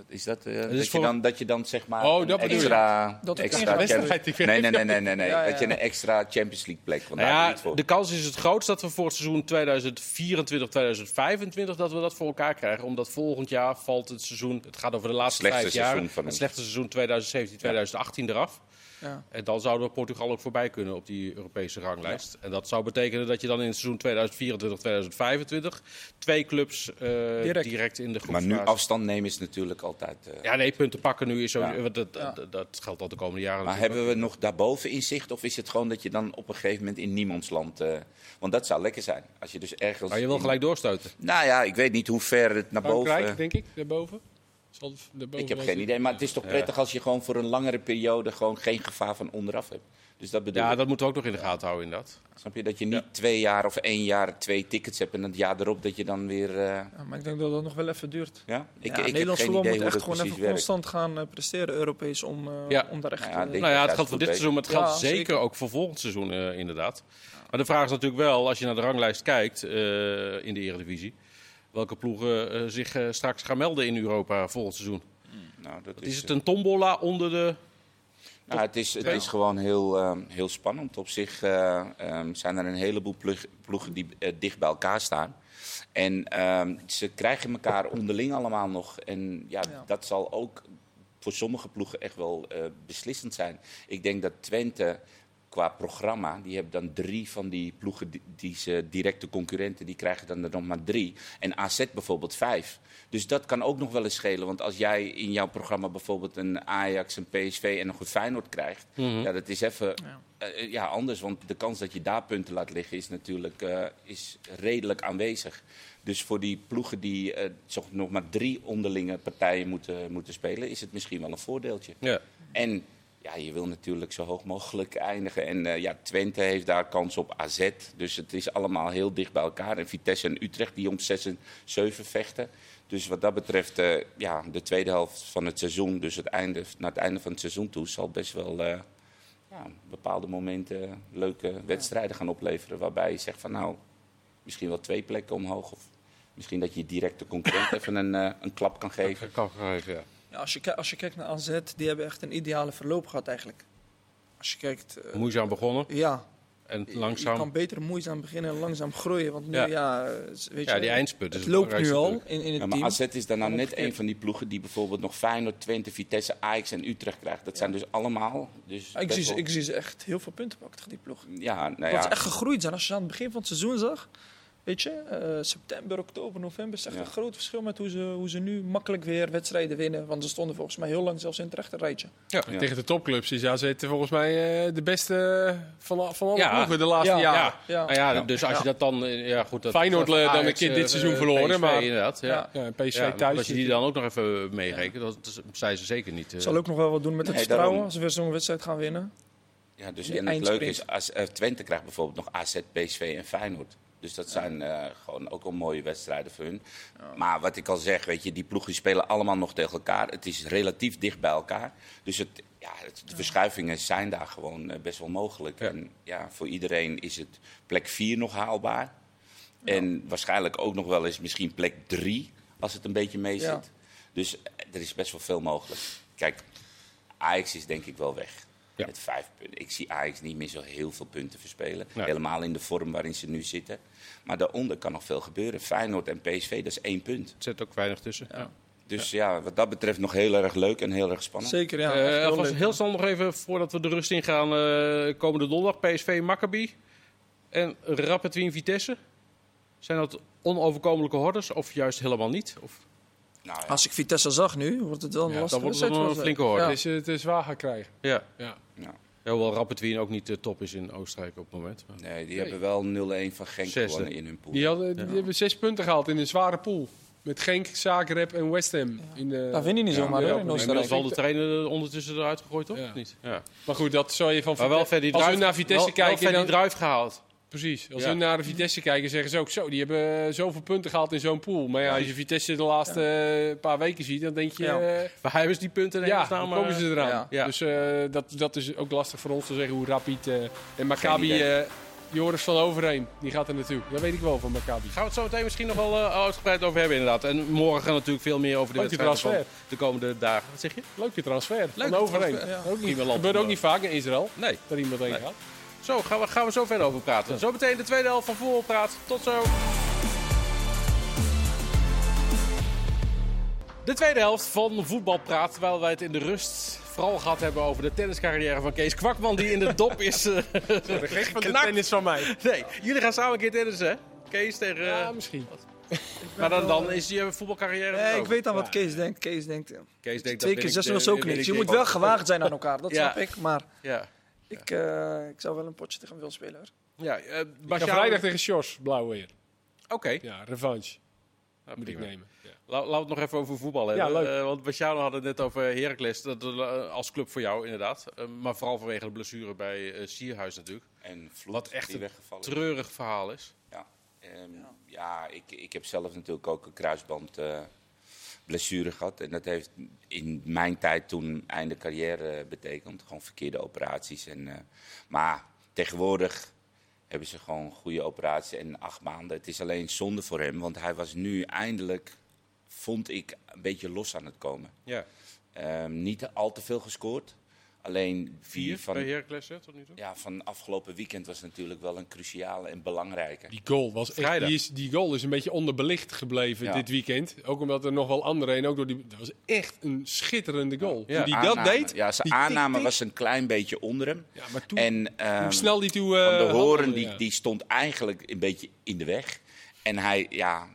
S7: Is dat, eh, dat,
S10: is
S7: je
S10: voor-
S7: dan, dat je dan zeg maar
S8: Oh,
S7: een
S8: dat bedoel je.
S7: extra,
S11: Dat het
S7: extra
S11: geen
S7: Champions-
S8: wedstrijd is.
S7: nee, nee, nee, nee, nee, nee.
S11: Ja, ja.
S7: dat je een extra Champions League plek. Want
S10: Nou
S7: daar
S10: ja,
S7: niet voor.
S10: de kans is het grootst dat we voor het seizoen 2024, 2025 dat we dat voor elkaar krijgen. Omdat volgend jaar valt het seizoen, het gaat over de laatste
S7: Slechtste
S10: vijf jaar,
S7: seizoen van
S10: het
S7: hem.
S10: slechte seizoen 2017, 2018 eraf.
S11: Ja.
S10: En dan zouden we Portugal ook voorbij kunnen op die Europese ranglijst. En dat zou betekenen dat je dan in het seizoen 2024, 2025 twee clubs eh, direct. in de groep
S7: Maar nu afstand nemen is natuurlijk altijd... eh,
S10: Ja, nee, punten pakken nu is zo. eh,
S7: Ja.
S10: want Dat, dat, dat geldt al de komende jaren.
S7: Maar
S10: natuurlijk.
S7: hebben we nog daarboven inzicht? Of is het gewoon dat je dan op een gegeven moment in niemandsland... eh, want dat zou lekker zijn. Als je dus ergens...
S10: Maar je wil
S7: in-
S10: gelijk doorstoten.
S7: Nou ja, ik weet niet hoe ver het naar
S8: Frankrijk,
S7: boven...
S8: denk ik, daarboven. Zal daarboven
S7: Ik heb
S8: wel
S7: geen
S8: zitten.
S7: idee, maar het is toch prettig als je gewoon voor een langere periode gewoon geen gevaar van onderaf hebt. Dus dat bedoel
S10: Ja,
S7: ik.
S10: dat moeten we ook nog in de gaten houden, inderdaad.
S7: Snap je? Dat je niet twee jaar of één jaar twee tickets hebt en het jaar erop dat je dan weer... eh,
S11: Ja, Ah, maar ik denk dat dat nog wel even duurt.
S7: ja? Ik,
S11: Ja, Nederlands voetbal
S7: heb geen idee
S11: moet
S7: hoe
S11: echt
S7: dat
S11: gewoon
S7: precies
S11: even
S7: werkt.
S11: constant gaan eh, presteren, Europees, om, eh,
S10: Ja.
S11: om daar echt...
S7: Ja,
S11: eh,
S7: dit-
S10: Nou ja, het
S7: Ja,
S10: geldt voor dit
S7: goed,
S10: seizoen, maar het
S11: Ja,
S10: geldt zeker,
S11: zeker.
S10: ook voor volgend seizoen, eh, inderdaad. Maar de vraag is natuurlijk wel, als je naar de ranglijst kijkt eh, in de Eredivisie, welke ploegen eh, zich eh, straks gaan melden in Europa volgend seizoen.
S7: Nou, dat
S10: Wat is
S7: is,
S10: het een tombola onder de...
S7: Nou, het is, het is gewoon heel, ehm, heel spannend. Op zich eh, ehm, zijn er een heleboel plug- ploegen die eh, dicht bij elkaar staan. En ehm, ze krijgen elkaar onderling allemaal nog. En ja,
S11: Ja.
S7: dat zal ook voor sommige ploegen echt wel eh, beslissend zijn. Ik denk dat Twente qua programma, die hebben dan drie van die ploegen, die, die ze directe concurrenten, die krijgen dan er nog maar drie. En AZ bijvoorbeeld vijf. Dus dat kan ook nog wel eens schelen. Want als jij in jouw programma bijvoorbeeld een Ajax, een PSV en nog een Feyenoord krijgt,
S8: Mhm.
S7: ja, dat is even eh, ja, anders. Want de kans dat je daar punten laat liggen is natuurlijk eh, is redelijk aanwezig. Dus voor die ploegen die eh, toch nog maar drie onderlinge partijen moeten, moeten spelen, is het misschien wel een voordeeltje.
S8: Ja.
S7: En ja, je wil natuurlijk zo hoog mogelijk eindigen. En eh, ja, Twente heeft daar kans op AZ. Dus het is allemaal heel dicht bij elkaar. En Vitesse en Utrecht die om 6 en 7 vechten. Dus wat dat betreft, eh, ja, de tweede helft van het seizoen, dus het einde, naar het einde van het seizoen toe, zal best wel eh, ja, bepaalde momenten eh, leuke wedstrijden gaan opleveren. Waarbij je zegt van nou, misschien wel twee plekken omhoog. Of misschien dat je directe concurrent even een, eh, een klap kan geven.
S8: Kan geven, ja.
S11: Ja, als, je, ki- als je kijkt naar AZ, die hebben echt een ideale verloop gehad eigenlijk. Als je kijkt... eh,
S8: Moeizaam begonnen
S11: ja,
S8: en
S11: je-
S8: langzaam.
S11: je kan beter moeizaam beginnen en langzaam groeien. Want nu,
S8: Ja.
S11: ja, eh, weet je,
S8: Ja, die eindspurt is
S11: het loopt
S8: het
S11: nu al
S8: belangrijkste
S11: in, in het
S7: Ja, maar
S11: team.
S7: AZ is dan nou
S11: Om
S7: net
S11: omgekeerd.
S7: een van die ploegen die bijvoorbeeld nog Feyenoord, Twente, Vitesse, Ajax en Utrecht krijgt. Dat zijn dus allemaal... Dus
S11: Ah, ik,
S7: best
S11: zie, ze-
S7: wel-
S11: ik zie ze echt heel veel punten pakken tegen die ploeg.
S7: Ja, nou
S11: Dat ze
S7: ja.
S11: echt gegroeid zijn. Als je ze aan het begin van het seizoen zag, weet je, eh, september, oktober, november, is echt
S7: Ja.
S11: een groot verschil met hoe ze, hoe ze nu makkelijk weer wedstrijden winnen. Want ze stonden volgens mij heel lang zelfs in het rechterrijtje.
S6: Ja,
S7: Ja.
S6: Tegen de topclubs is AZ volgens mij eh, de beste van, al- van alle
S8: Ja.
S6: ploegen de laatste
S11: Ja.
S6: jaren.
S8: Ja.
S11: Ja.
S8: Nou ja, dus als je dat dan... eh, Ja, goed, dat,
S6: Feyenoord,
S8: dat
S6: eh, dan
S8: Ajax,
S6: een keer
S8: eh,
S6: dit
S8: eh,
S6: seizoen verloren,
S8: PSV
S6: maar-
S8: inderdaad, ja.
S11: Ja.
S6: Ja, en PSV
S8: Ja,
S6: thuis.
S8: dat je die dan ook nog even meerekent, dat, dat zijn ze zeker niet. eh.
S11: Zal ook nog wel wat doen met het
S7: Nee,
S11: vertrouwen
S7: daarom.
S11: als ze weer zo'n wedstrijd gaan winnen.
S7: ja dus,
S11: die
S7: en het leuke
S11: eindsprint.
S7: is, als, eh, Twente krijgt bijvoorbeeld nog AZ, PSV en Feyenoord. Dus dat zijn eh, gewoon ook al mooie wedstrijden voor hun. Maar wat ik al zeg, weet je, die ploegen spelen allemaal nog tegen elkaar. Het is relatief dicht bij elkaar. Dus het, ja, het, de verschuivingen zijn daar gewoon eh, best wel mogelijk. En ja, voor iedereen is het plek 4 nog haalbaar. En waarschijnlijk ook nog wel eens misschien plek 3, als het een beetje mee zit.
S11: Ja.
S7: Dus eh, er is best wel veel mogelijk. Kijk, Ajax is denk ik wel weg.
S8: Ja.
S7: Met vijf punten. Ik zie Ajax niet meer zo heel veel punten verspelen.
S8: Nee.
S7: Helemaal in de vorm waarin ze nu zitten. Maar daaronder kan nog veel gebeuren. Feyenoord en PSV, dat is één punt.
S8: Er zit ook weinig tussen. Ja.
S7: Dus ja, wat dat betreft nog heel erg leuk en heel erg spannend.
S11: Zeker, ja.
S8: Eh,
S11: echt heel
S8: alvast
S11: leuk.
S8: heel snel nog even, voordat we de rust ingaan, eh komende donderdag PSV Maccabi en Rapid Wien Vitesse. Zijn dat onoverkomelijke hordes of juist helemaal niet? Of,
S7: Nou, ja.
S11: Als ik Vitesse zag nu, wordt het wel een
S6: Ja,
S11: lastige
S8: dan wordt het
S11: wedstrijd.
S8: wel een
S11: voor ze.
S8: flinke horde.
S11: Ja.
S6: Dus eh, het is zwaar gaan krijgen.
S8: ja.
S6: Ja.
S8: Ja, hoewel Rapid Wien ook niet de top is in Oostenrijk op het moment. Maar-
S7: Nee, die hebben wel 0-1 van Genk
S8: Zesde.
S7: gewonnen in hun pool.
S6: Die, hadden, die hebben zes punten gehaald in een zware pool. Met Genk, Zagreb en West Ham. In eh, de,
S11: Dat vind je niet
S6: Ja,
S11: zomaar,
S6: in
S11: hoor,
S6: Europa
S11: in
S6: League.
S8: Inmiddels
S11: Oostenrijk.
S8: wel de trainer eh, ondertussen eruit gegooid, toch?
S6: Ja.
S8: Of niet? Ja.
S6: Maar goed, dat zou je van
S8: Maar wel
S6: Vite-
S8: verder
S6: Als we naar Vitesse kijken,
S8: wel, wel
S6: dan-
S8: die druif gehaald.
S6: Precies. Als
S8: Ja.
S6: we naar de Vitesse kijken, zeggen ze ook zo. Die hebben eh, zoveel punten gehaald in zo'n pool. Maar ja, als je Vitesse de laatste eh, paar weken ziet, dan denk je...
S11: Ja.
S6: eh,
S8: Waar hebben ze die punten in
S6: Ja,
S8: hemelsnaam,
S6: dan komen
S8: eh,
S6: ze eraan.
S11: ja.
S8: Ja.
S6: Dus eh, dat, dat is ook lastig voor ons te zeggen hoe Rapid eh, en Maccabi...
S7: idee.
S6: eh, Joris van Overheem, die gaat er naartoe. Dat weet ik wel van Maccabi.
S8: Gaan we het zo meteen misschien nog wel eh, uitgebreid over hebben, inderdaad. En morgen natuurlijk veel meer over de
S6: Leuke
S8: wedstrijden van
S6: transfer.
S8: de komende dagen. Wat zeg je?
S6: Leuke transfer.
S8: Leuke
S6: van Overheem.
S8: transfer,
S6: Ook niet,
S8: Prima land.
S6: gebeurt ook niet vaak in Israël.
S8: Nee.
S6: Dat iemand heen
S8: Nee.
S6: gaat.
S8: Zo, gaan we, gaan we zo verder over praten. Zo meteen de tweede helft van Voetbal Praat. Tot zo. De tweede helft van Voetbal Praat, terwijl wij het in de rust vooral gehad hebben over de tenniscarrière van Kees Kwakman, die in de dop is. eh,
S6: Van de
S8: Knakt.
S6: tennis van mij.
S8: nee, jullie gaan samen een keer tennissen, hè? Kees tegen... eh,
S6: Ja, misschien.
S8: maar dan, dan is je voetbalcarrière
S11: Nee, Eh, ik
S8: over.
S11: weet aan wat Kees denkt. Kees denkt, ja,
S8: Kees denkt,
S11: twee
S8: dat
S11: keer
S8: ben ik
S11: zes
S8: de-
S11: was ook
S8: ben ik
S11: niks. Je
S8: de-
S11: moet wel gewaagd zijn aan elkaar, dat
S8: Ja.
S11: snap ik. Maar
S8: Ja,
S11: ik, eh, ik zou wel een potje tegen hem willen spelen. hoor.
S8: ja eh,
S6: Ik ga
S8: Basjaar-
S6: vrijdag tegen Sjors, blauw weer.
S8: Oké,
S6: Ja, revanche
S8: Nou,
S6: moet ik
S8: prima.
S6: nemen.
S8: La- Laten we het nog even over voetbal hebben.
S6: Ja, leuk.
S8: Eh, want Bastiano had het net over Heracles dat, eh, als club voor jou, inderdaad. Eh, maar vooral vanwege de blessure bij eh Sierhuis natuurlijk.
S7: En Vloed,
S8: Wat echt
S7: die
S8: een
S7: weggevallen is.
S8: Treurig verhaal is.
S7: Ja, Ehm, ja. ik, ik heb zelf natuurlijk ook een kruisband eh, blessure gehad. En dat heeft in mijn tijd toen einde carrière eh, betekend. Gewoon verkeerde operaties. En, eh, maar tegenwoordig hebben ze gewoon goede operaties en acht maanden. Het is alleen zonde voor hem, want hij was nu eindelijk, vond ik, een beetje los aan het komen.
S8: Ja.
S7: Ehm, niet al te veel gescoord. Alleen vier van.
S8: Bij Heracles, hè, tot nu toe?
S7: Ja, van afgelopen weekend was natuurlijk wel een cruciale en belangrijke.
S6: Die goal, was echt, die, is, die goal is een beetje onderbelicht gebleven
S7: Ja.
S6: dit weekend. Ook omdat er nog wel anderen en ook door die. Dat was echt een schitterende goal.
S8: Ja.
S6: Hoe die dat
S7: Aanname.
S6: deed.
S7: Ja, zijn
S6: die tik,
S7: aanname
S6: tik.
S7: was een klein beetje onder hem.
S6: Ja, maar toen,
S7: En, ehm,
S6: hoe snel die toe.
S7: Van de
S6: eh,
S7: Horen
S6: handelde,
S7: die,
S6: ja.
S7: die stond eigenlijk een beetje in de weg. En hij, ja,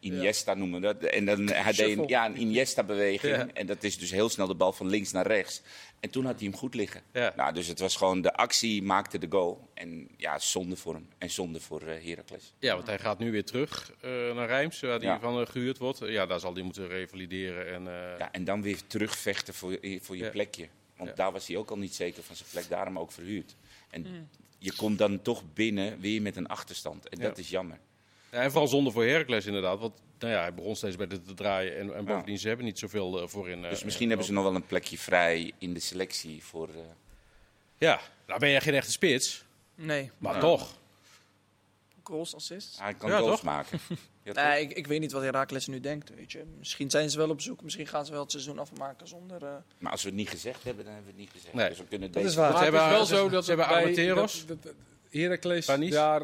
S7: Iniesta noemen we dat. En dan, hij deed een,
S8: Shuffle.
S7: ja, een Iniesta-beweging.
S8: Ja.
S7: En dat is dus heel snel de bal van links naar rechts. En toen had hij hem goed liggen.
S8: Ja.
S7: Nou, dus het was gewoon de actie maakte de goal. En ja, zonde voor hem. En zonde voor eh, Heracles.
S8: Ja, want hij gaat nu weer terug eh, naar Rijms, waar hij
S7: Ja.
S8: van eh, gehuurd wordt. ja, daar zal hij moeten revalideren. En, eh,
S7: Ja, en dan weer terugvechten voor, eh, voor je
S8: Ja.
S7: plekje. Want
S8: Ja.
S7: daar was hij ook al niet zeker van zijn plek. Daarom ook verhuurd. En
S11: Mm.
S7: je komt dan toch binnen weer met een achterstand. En
S8: Ja.
S7: dat is jammer.
S8: Ja, en vooral zonde voor Heracles inderdaad. Want nou ja, hij begon steeds beter te draaien. En, en bovendien, ze hebben niet zoveel eh, voorin. eh,
S7: Dus misschien
S8: eh,
S7: hebben ze nog wel een plekje vrij in de selectie voor. eh,
S8: Ja, nou ben jij geen echte spits.
S11: Nee.
S8: Maar toch.
S11: Goals, assists.
S7: hij kan
S8: Ja,
S7: goals
S8: toch?
S7: maken. Ja, toch?
S11: Nee, ik, ik weet niet wat Herakles nu denkt. Weet je. Misschien zijn ze wel op zoek. Misschien gaan ze wel het seizoen afmaken zonder... eh,
S7: Maar als we het niet gezegd hebben, dan hebben we het niet gezegd.
S8: Nee.
S7: Dus we kunnen
S11: Dat
S7: deze-
S11: is waar.
S8: Ze
S6: Maar het
S8: hebben-
S6: is wel
S8: ze-
S6: zo dat
S8: ze hebben
S6: bij-
S8: Armenteros.
S6: dat- dat- dat Heracles
S8: Panis.
S6: daar.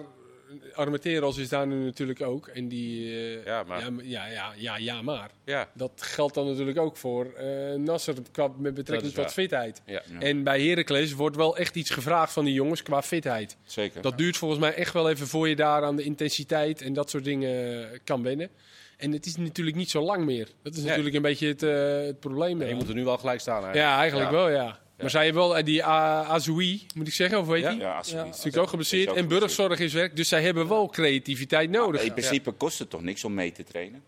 S6: Armenteros is daar nu natuurlijk ook. En die. eh,
S8: Ja, maar-
S6: Ja, ja, ja, ja, ja, maar.
S8: Ja.
S6: Dat geldt dan natuurlijk ook voor eh, Nasser qua, met
S8: Dat
S6: betrekking
S8: is
S6: tot
S8: waar.
S6: fitheid.
S8: Ja.
S6: En bij Heracles wordt wel echt iets gevraagd van die jongens qua fitheid.
S7: Zeker.
S6: Dat duurt volgens mij echt wel even voor je daar aan de intensiteit en dat soort dingen eh, kan wennen. En het is natuurlijk niet zo lang meer. Dat is natuurlijk een beetje het, eh, het probleem.
S8: Je
S6: eraan.
S8: moet er nu wel gelijk staan eigenlijk.
S6: Ja, eigenlijk wel, ja. Maar zij hebben wel eh, die A- Azoui, moet ik zeggen, of weet je?
S8: Ja.
S6: die?
S7: Ja, alsjeblieft.
S6: Is natuurlijk ook geblesseerd.
S7: Is ook
S6: En
S7: geblesseerd.
S6: burgzorg is werk. Dus zij hebben wel creativiteit nodig.
S7: In principe kost het toch niks om mee te trainen?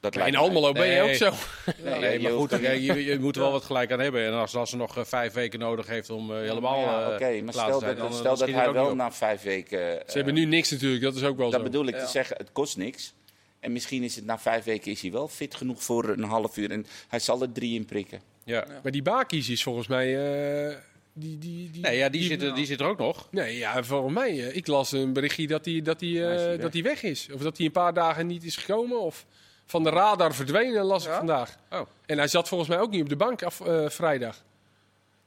S7: Dat
S6: En
S7: lijkt
S6: in
S7: mij.
S6: Almelo ben je
S8: Nee.
S6: ook zo.
S7: Nee,
S8: Nee,
S7: je
S8: maar
S7: hoeft
S8: goed,
S7: dan-
S8: je, je, je moet er wel wat gelijk aan hebben. En als, als ze nog eh, vijf weken nodig heeft om eh, helemaal
S7: Ja,
S8: eh,
S7: Oké, maar
S8: klaar
S7: stel
S8: te zijn,
S7: dat,
S8: dan, eh,
S7: stel dat
S8: schiet
S7: hij
S8: het ook
S7: wel
S8: niet op.
S7: na vijf weken. eh,
S6: Ze hebben nu niks natuurlijk, dat is ook wel
S7: dat
S6: zo.
S7: bedoel ik te zeggen, het kost niks. En misschien is het na vijf weken is hij wel fit genoeg voor een half uur. En hij zal er drie in prikken.
S8: Ja.
S6: Maar die Bakis is volgens mij... eh, die, die, die,
S8: Nee, ja, die, zit, er- die zit er ook nog.
S6: Nee, ja, volgens mij. eh, ik las een berichtje dat hij dat die, eh,
S7: Hij is weer weg.
S6: dat die weg is. Of dat hij een paar dagen niet is gekomen. Of van de radar verdwenen, las ik vandaag.
S8: Oh.
S6: En hij zat volgens mij ook niet op de bank af, eh, vrijdag.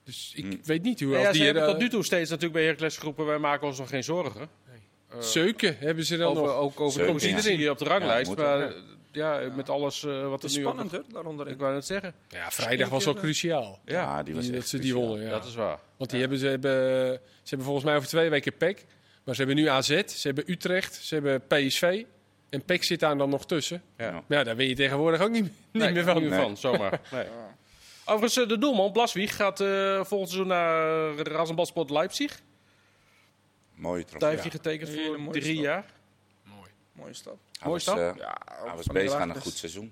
S6: Dus ik weet niet hoe...
S8: Hmm. Ja,
S6: als
S8: ze
S6: die,
S8: hebben
S6: eh,
S8: tot nu toe steeds natuurlijk bij Heracles groepen. Wij maken ons nog geen zorgen.
S6: Zeuken hebben ze dan
S8: Over,
S6: nog.
S8: ook over
S7: Zeker,
S8: de competitie op de ranglijst.
S7: Ja, moet
S8: maar
S7: ook,
S8: eh, ja, met alles eh, wat
S11: het is
S8: er nu ook
S11: spannend, hoor, daaronder.
S8: Ik wou net zeggen.
S6: Ja, vrijdag was wel cruciaal.
S8: Ja,
S7: die
S6: Die, dat
S7: echt
S6: ze die
S7: cruciaal.
S6: wonnen, ja.
S8: Dat is waar.
S6: Want die hebben, ze, hebben, ze hebben volgens mij over twee weken PEC. Maar ze hebben nu AZ, ze hebben Utrecht, ze hebben PSV. En PEC zit daar dan nog tussen.
S8: Ja.
S6: Maar ja, daar weet je tegenwoordig ook niet, niet
S8: Nee,
S6: meer van.
S8: Niet meer van, zomaar. Nee. Overigens, eh, de doelman Blaswieg gaat eh volgend seizoen naar Rasenbadsport Leipzig.
S7: Mooie
S8: Daar
S7: trofee.
S8: heeft hij getekend
S11: Hele
S8: voor
S11: mooie
S8: drie
S11: stap.
S8: jaar.
S11: Mooie stap.
S7: Hij
S8: Mooi
S7: was,
S8: stap.
S7: eh,
S11: Ja,
S7: hij
S11: ook
S7: was
S11: van de
S7: bezig aan een
S11: Raakles.
S7: goed seizoen.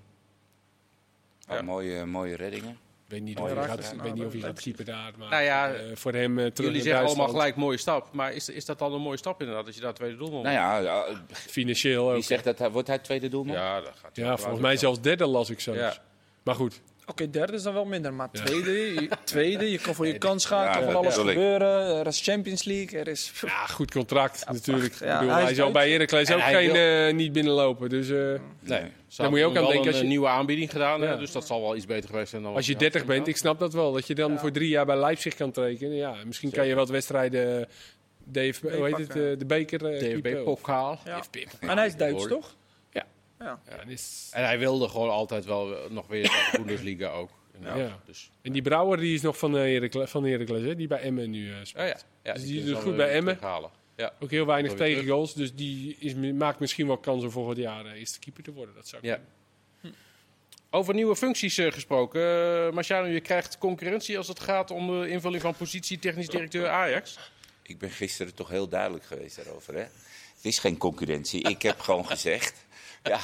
S8: Ja.
S7: Had Mooie, mooie reddingen.
S6: Ik weet niet,
S7: Mooi,
S6: hoe hij
S7: raakt
S6: gaat-
S11: het.
S6: ik weet niet of hij gaat keeper daar. Maar
S8: Nou ja,
S6: eh, voor hem eh, terug
S8: Jullie
S6: naar
S8: zeggen allemaal
S6: Duitsland,
S8: gelijk mooie stap. Maar is, is dat dan een mooie stap inderdaad, dat je daar tweede doelman
S7: Nou ja, ja,
S6: Financieel
S7: wie
S6: ook.
S7: zegt dat hij wordt hij tweede doelman?
S8: Ja, dat gaat
S6: Ja, volgens mij zelfs derde las ik zelfs.
S8: Ja.
S6: Maar goed,
S11: Oké, derde is dan wel minder, maar tweede, je, tweede, je kan voor je kans gaan,
S7: ja,
S11: kan van
S7: dat
S11: alles
S7: bedoel ik.
S11: gebeuren. Er is Champions League, er is...
S6: ja, goed contract natuurlijk.
S11: prachtig, ja.
S6: Ik bedoel,
S11: Hij is
S6: hij zal
S11: uit.
S6: bij Heracles
S8: En
S6: ook
S8: hij
S6: geen,
S8: wil-
S6: eh, niet binnenlopen. Dus eh,
S8: Nee,
S6: Daar moet je ook aan denken als
S8: Een eh,
S6: je-
S8: nieuwe aanbieding gedaan, hè,
S6: Ja.
S8: dus dat zal wel iets beter geweest zijn dan.
S6: als je
S8: wat hij
S6: 30
S8: had
S6: bent, ik
S8: gedaan.
S6: snap dat wel. Dat je dan voor drie jaar bij Leipzig kan tekenen. Ja, misschien kan je wat wedstrijden... eh, DFB, hoe heet het?
S11: pakken.
S6: eh, de beker. eh, keeper
S8: DFB
S6: of-
S8: pokaal.
S11: Ja.
S6: DFB.
S11: En hij is Duits, toch?
S6: Ja, dat is-
S8: En hij wilde gewoon altijd wel eh, nog weer naar de Bundesliga ook. inderdaad.
S6: Ja.
S8: Dus,
S6: En die Brouwer die is nog van eh, Heracles, van Heracles hè, die bij Emmen nu eh,
S8: ja,
S6: speelt.
S8: Oh ja. Ja,
S6: Dus die
S8: kunnen
S6: doet
S8: ze
S6: goed
S8: wel
S6: bij
S8: weer
S6: Emmen.
S8: eh, terughalen. Ja.
S6: Ook heel weinig
S8: Nog weer
S6: tegengoals, dus die is, maakt misschien wel kans om volgend jaar eh, eerste keeper te worden. Dat zou
S8: Ja. Hm.
S6: kunnen.
S8: Over nieuwe functies eh, gesproken. Eh Marciano, je krijgt concurrentie als het gaat om de invulling van positie technisch directeur Ajax.
S7: Ik ben gisteren toch heel duidelijk geweest daarover. Hè? Het is geen concurrentie. Ik heb gewoon gezegd ja,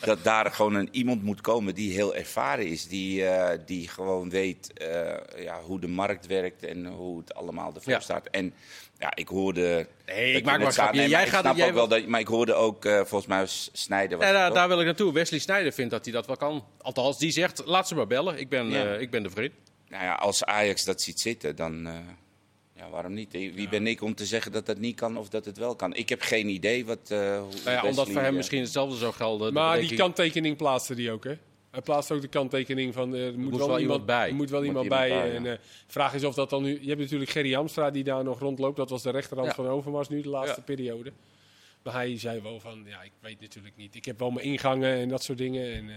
S7: dat daar gewoon een, iemand moet komen die heel ervaren is. Die, eh, die gewoon weet eh, ja, hoe de markt werkt en hoe het allemaal ervoor
S8: Ja.
S7: staat. En ja, ik hoorde...
S8: Nee,
S7: dat je
S8: ik maak
S7: het
S8: maar een
S7: staat-
S8: grapje.
S7: nee, maar
S8: Jij
S7: ik
S8: gaat-
S7: snap
S8: jij
S7: ook wel
S8: wil-
S7: dat... Maar ik hoorde ook, eh, volgens mij, was Snijder... was
S8: Ja,
S7: het,
S8: eh, daar,
S7: toch?
S8: daar wil ik naartoe. Wesley Snijder vindt dat hij dat wel kan. Althans, die zegt, laat ze maar bellen. Ik ben,
S7: Ja.
S8: eh, ik ben de vriend.
S7: Nou ja, als Ajax dat ziet zitten, dan eh, ja, waarom niet? Wie ben ik om te zeggen dat dat niet kan of dat het wel kan? Ik heb geen idee wat. eh, hoe
S8: Nou ja,
S7: Wesley,
S8: omdat voor hem
S7: eh,
S8: misschien hetzelfde zou gelden.
S6: Maar
S8: dat
S6: die
S8: denk ik-
S6: kanttekening plaatste die ook, hè? Hij plaatst ook de kanttekening van eh, er moet, wel iemand bij. Er moet wel iemand, bij. en eh, vraag is of dat dan nu. Je hebt natuurlijk Gerry Hamstra die daar nog rondloopt. Dat was de rechterhand
S11: Ja.
S6: van Overmars nu de laatste
S11: Ja.
S6: periode. Maar hij zei wel van ja, ik weet natuurlijk niet. Ik heb wel mijn ingangen en dat soort dingen. En, eh,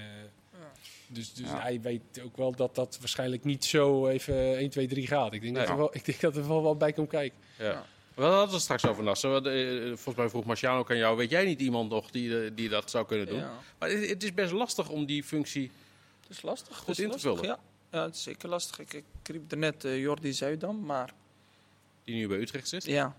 S6: Dus, dus
S11: Ja.
S6: hij weet ook wel dat dat waarschijnlijk niet zo even eh, 1, 2, 3 gaat. Ik denk, dat,
S8: Nee.
S6: er wel, ik denk dat er wel wat bij komt kijken.
S8: Ja. We hadden het straks over Nasser. Want, eh, Volgens mij vroeg Marciano ook aan jou: weet jij niet iemand nog die, eh, die dat zou kunnen doen?
S11: Ja.
S8: Maar het, het is best lastig om die functie.
S11: Het is lastig.
S8: Goed
S11: Het is
S8: in te
S11: lastig,
S8: vullen.
S11: Ja. ja, het is zeker lastig. Ik, ik riep er net eh, Jordi Zuidam, maar
S8: die nu bij Utrecht zit.
S11: Ja.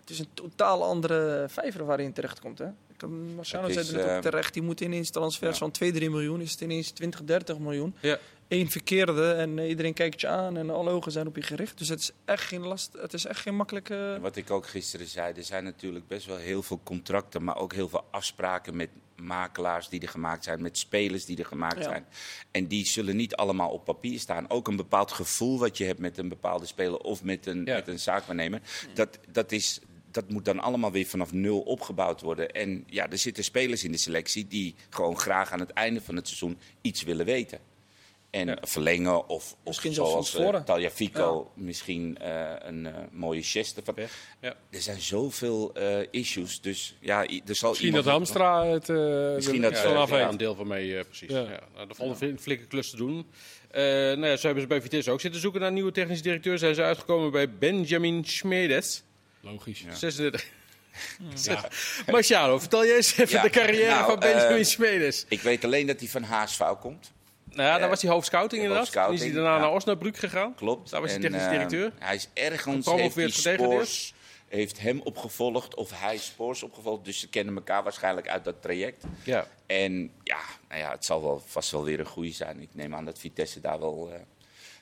S11: Het is een totaal andere vijver waar hij in terecht komt. Hè? Ik heb Marciano
S8: Het
S11: zei
S8: is,
S11: er net
S7: ehm,
S8: eh,
S11: ook terecht. Die moet ineens transfers
S8: ja.
S11: van 2, 3 miljoen. Is het ineens 20, 30 miljoen.
S8: Ja.
S11: Eén verkeerde en eh, iedereen kijkt je aan en alle ogen zijn op je gericht. Dus het is echt geen, last, het is echt geen makkelijke...
S7: En Wat ik ook gisteren zei, er zijn natuurlijk best wel heel veel contracten, maar ook heel veel afspraken met makelaars die er gemaakt zijn, met spelers die er gemaakt
S11: Ja.
S7: zijn. En die zullen niet allemaal op papier staan. Ook een bepaald gevoel wat je hebt met een bepaalde speler of met een, met een zaakwaarnemer, dat, dat, is, dat moet dan allemaal weer vanaf nul opgebouwd worden. En ja, er zitten spelers in de selectie die gewoon graag aan het einde van het seizoen iets willen weten. En verlengen of, of
S11: Misschien zelfs
S7: zoals
S11: van tevoren.
S7: Talia Fico misschien eh, een eh, mooie geste. Van, Er zijn zoveel eh, issues, dus ja, i- er zal
S6: Misschien
S7: iemand-
S6: dat Hamstra het eh
S7: Misschien
S6: er
S7: dat,
S6: iets
S7: eh,
S6: van af
S7: ja,
S6: heeft.
S8: Een deel van mij, eh, precies.
S6: Ja.
S8: Ja. nou, dat vonden we een flinke klus te doen. Eh nou ja, zo hebben ze bij Vitesse ook zitten zoeken naar een nieuwe technisch directeur. Zijn ze uitgekomen bij Benjamin Schmedes.
S6: Logisch.
S8: 36. Ja. Marciano, vertel jij eens even
S7: Ja,
S8: de carrière
S7: nou,
S8: van Benjamin
S7: eh,
S8: Schmedes.
S7: Ik weet alleen dat hij van Haasvouw komt.
S8: Nou, ja,
S7: eh,
S8: daar was hij hoofdscouting
S7: de
S8: inderdaad. Toen is hij
S7: hoofdscouting,
S8: daarna
S7: ja.
S8: naar Osnabrück gegaan.
S7: Klopt.
S8: Daar was hij
S7: En,
S8: technisch
S7: eh,
S8: directeur.
S7: hij is ergens, heeft
S8: Gepromoveerd
S7: hij
S8: vertegenwoordiger.
S7: Spoors, heeft hem opgevolgd of hij Spoors opgevolgd. Dus ze kennen elkaar waarschijnlijk uit dat traject.
S8: Ja.
S7: En ja, nou ja, het zal wel, vast wel weer een goede zijn. Ik neem aan dat Vitesse daar wel eh,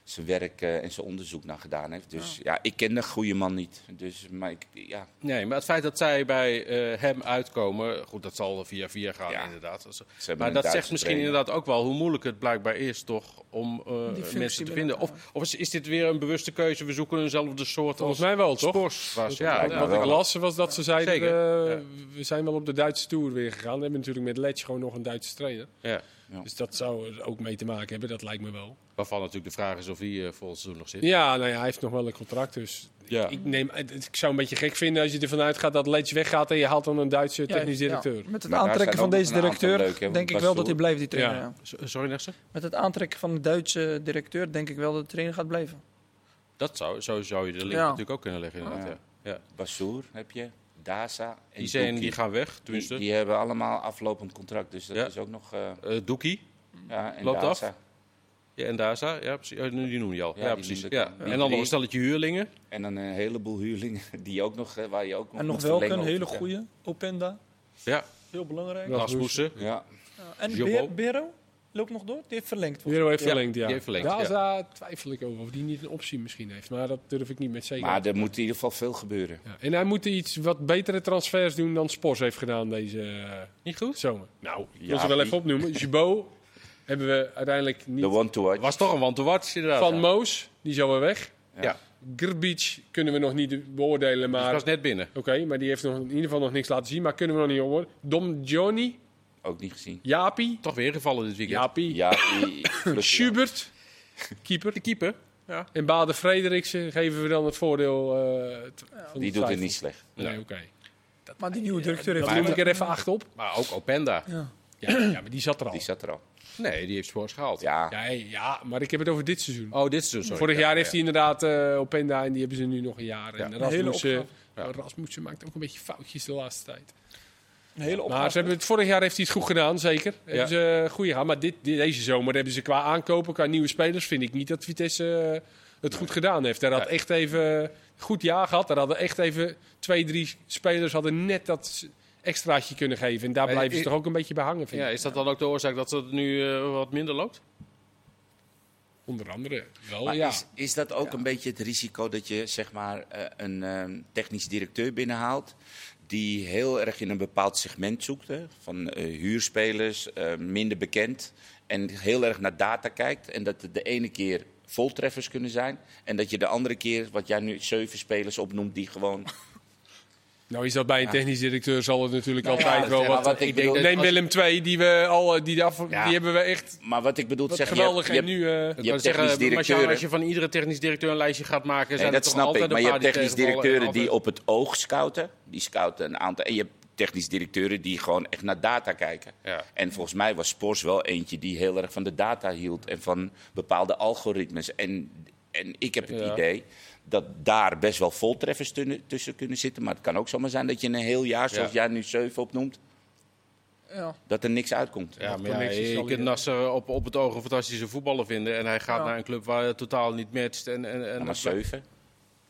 S7: zijn werk eh, en zijn onderzoek naar gedaan heeft. Dus ja, ik ken de goede man niet. Dus, maar ik, ja,
S8: Nee, maar het feit dat zij bij eh, hem uitkomen, goed, dat zal via via gaan inderdaad. Dat is-
S7: hebben
S8: Maar
S7: een
S8: dat
S7: Duitse
S8: zegt misschien
S7: trainer.
S8: inderdaad ook wel hoe moeilijk het blijkbaar is toch om eh, mensen
S11: willen,
S8: te vinden. Of, of is, is dit weer een bewuste keuze? We zoeken eenzelfde soort
S6: Volgens
S8: als
S6: mij wel, toch?
S8: Spors was. Ja,
S6: wat
S8: ja,
S6: wat
S8: wel.
S6: ik las was dat ze zeiden,
S8: Zeker,
S6: eh,
S8: ja.
S6: we zijn wel op de Duitse Tour weer gegaan. We hebben natuurlijk met Letch gewoon nog een Duitse trainer.
S8: Ja.
S6: Dus dat zou er ook mee te maken hebben, dat lijkt me wel.
S8: Waarvan natuurlijk de vraag is of hij eh volgend seizoen nog zit.
S6: Ja, nou ja, hij heeft nog wel een contract, dus
S8: Ja.
S6: ik, neem, het- het- ik zou een beetje gek vinden als je ervan uitgaat dat Letch weggaat en je haalt dan een Duitse technisch
S11: ja.
S6: directeur.
S11: Met het
S7: Maar daar
S11: aantrekken
S7: zijn
S11: van
S7: ook
S11: deze
S7: een aantal
S11: directeur
S7: leuke, hè, want
S11: denk ik wel
S7: Bastoer-
S11: dat hij blijft, die trainer.
S6: Ja.
S11: ja.
S8: S- Sorry, Nersen?
S11: Met het aantrekken van de Duitse directeur denk ik wel dat de trainer gaat blijven.
S8: Dat zou, zo zou je de link
S11: Ja.
S8: natuurlijk ook kunnen leggen
S6: Ah.
S8: inderdaad.
S7: Ja.
S8: Ja. Ja.
S7: Bassoer heb je, Daza en
S8: Die, zijn,
S7: Doekie.
S8: die gaan weg,
S7: Die,
S8: tenminste.
S7: die hebben allemaal aflopend contract, dus dat
S8: Ja.
S7: is ook nog... eh,
S8: Eh, Doekie.
S7: ja, en
S8: Loopt af?
S7: Daza.
S8: Ja, en Daza, ja, precies. Oh, nu- die noem je al.
S7: Ja,
S8: Ja,
S7: die
S8: precies.
S7: noemde ik
S8: Ja.
S7: al. Die
S8: En dan nog een
S7: drie.
S8: stelletje huurlingen.
S7: En dan een eh, heleboel huurlingen die ook nog, eh, waar je ook nog
S11: En nog
S7: moet
S11: welke,
S7: verlengen
S11: een
S7: of
S11: hele
S7: iets, hè.
S11: goede. Openda,
S8: Ja,
S11: heel belangrijk.
S8: Rasmussen.
S7: Ja,
S11: Ja, En
S8: Jobbo.
S11: Be- Bero loopt nog door, die heeft verlengd. volgens
S6: Wero heeft
S8: Ja,
S6: verlengd, ja.
S8: die heeft verlengd,
S6: Daza twijfel ik over of die niet een optie misschien heeft, maar dat durf ik niet met zekerheid.
S7: maar er moet in ieder geval veel gebeuren.
S6: Ja, En hij moet iets wat betere transfers doen dan Spors heeft gedaan deze eh,
S8: Niet goed?
S6: zomer. Nou, ik wil
S7: Ja,
S6: ze wel
S7: die-
S6: even opnoemen. Jabot hebben we uiteindelijk
S7: De
S6: niet.
S7: one to watch.
S8: Was toch een want to watch inderdaad.
S6: Van
S8: ja. Dus
S6: Moos, die is alweer weg.
S8: Ja. Dus
S6: Grbic kunnen we nog niet beoordelen,
S8: Die
S6: maar...
S8: was
S6: Oké,
S8: net binnen.
S6: maar die heeft nog, in ieder geval nog niks laten zien, maar kunnen we nog niet horen. Dom Johnny,
S7: Ook niet gezien.
S6: Japi,
S8: Toch weer gevallen dit weekend.
S6: Japi,
S7: Ja, die-
S6: Schubert, keeper. De keeper.
S8: Ja.
S6: En Baden Frederiksen geven we dan het voordeel eh, t- van
S7: die
S6: de
S7: doet het
S6: twijfel.
S7: niet slecht.
S6: Nee,
S8: Ja.
S6: oké.
S11: mij. Maar die nieuwe directeur heeft
S6: Dat noem ik er even acht op.
S8: Maar ook Openda.
S6: Ja, ja, maar die zat er al.
S7: Die zat er al.
S8: Nee, die heeft Spors gehaald.
S7: Ja,
S6: Ja, hey, ja, maar ik heb het over dit seizoen.
S8: Oh, dit is dus. sorry.
S6: Vorig
S8: Ja,
S6: jaar
S8: ja.
S6: heeft hij inderdaad eh Openda en die hebben ze nu nog een jaar. En Rasmussen, maar Rasmussen maakt ook een beetje foutjes de laatste tijd.
S11: een hele
S6: Maar ze
S11: opgave.
S6: hebben het, vorig jaar heeft hij het goed gedaan, zeker. Hebben ze eh, goed gedaan. Maar dit, dit- deze zomer hebben ze qua aankopen, qua nieuwe spelers, vind ik niet dat Vitesse eh, het goed gedaan heeft. Daar had
S8: Nee.
S6: echt even een goed jaar gehad. Daar hadden echt even twee, drie spelers hadden net dat extraatje kunnen geven. En daar
S8: Maar
S6: blijven ze
S8: i-
S6: toch ook een beetje bij hangen, vind
S8: Ja,
S6: ik.
S8: is dat dan ook de oorzaak dat het nu eh, wat minder loopt?
S6: Onder andere wel,
S7: maar
S6: ja.
S7: is, is dat ook een beetje het risico dat je zeg maar, eh, een ehm, technisch directeur binnenhaalt... die heel erg in een bepaald segment zoekt, hè, van eh, huurspelers, eh, minder bekend... en heel erg naar data kijkt en dat het de ene keer voltreffers kunnen zijn... en dat je de andere keer, wat jij nu zeven spelers opnoemt, die gewoon...
S8: Nou is dat bij een technisch directeur zal het natuurlijk
S12: Nou ja,
S8: altijd wel
S12: zeg maar
S8: wat...
S12: wat ik
S8: denk
S12: bedoel,
S8: neem
S12: als-
S8: Willem II, die, we al,
S6: eh,
S8: die, de af-
S10: Ja.
S8: die hebben we echt...
S7: Maar wat ik bedoel,
S8: Wat
S7: zeg
S8: geweldig,
S7: je hebt,
S8: en
S7: je
S8: nu, eh,
S7: hebt, je
S10: zeggen,
S7: hebt technisch
S10: maar Sjaal,
S7: directeuren.
S10: als je van iedere technisch directeur een lijstje gaat maken,
S7: Nee,
S10: zijn er
S7: dat
S10: toch
S7: snap
S10: altijd
S7: ik. Maar
S10: een
S7: je
S10: paar
S7: hebt technisch
S10: tegenvallen en
S7: directeuren
S10: altijd-
S7: die op het oog scouten. Die scouten een aantal. En je hebt technisch directeuren die gewoon echt naar data kijken. En volgens mij was Spors wel eentje die heel erg van de data hield. En van bepaalde algoritmes. En, en ik heb het
S10: Ja.
S7: idee dat daar best wel voltreffers tussen- tussen kunnen zitten. Maar het kan ook zomaar zijn dat je in een heel jaar, zoals
S10: Ja.
S7: jij nu zeven opnoemt,
S9: Ja.
S7: dat er niks uitkomt.
S10: Ja, maar ja, je kunt Nasser op, op het oog een fantastische voetballer vinden. En hij gaat
S8: Ja.
S10: naar een club waar het totaal niet matcht. En, en, en
S7: Ja, maar zeven.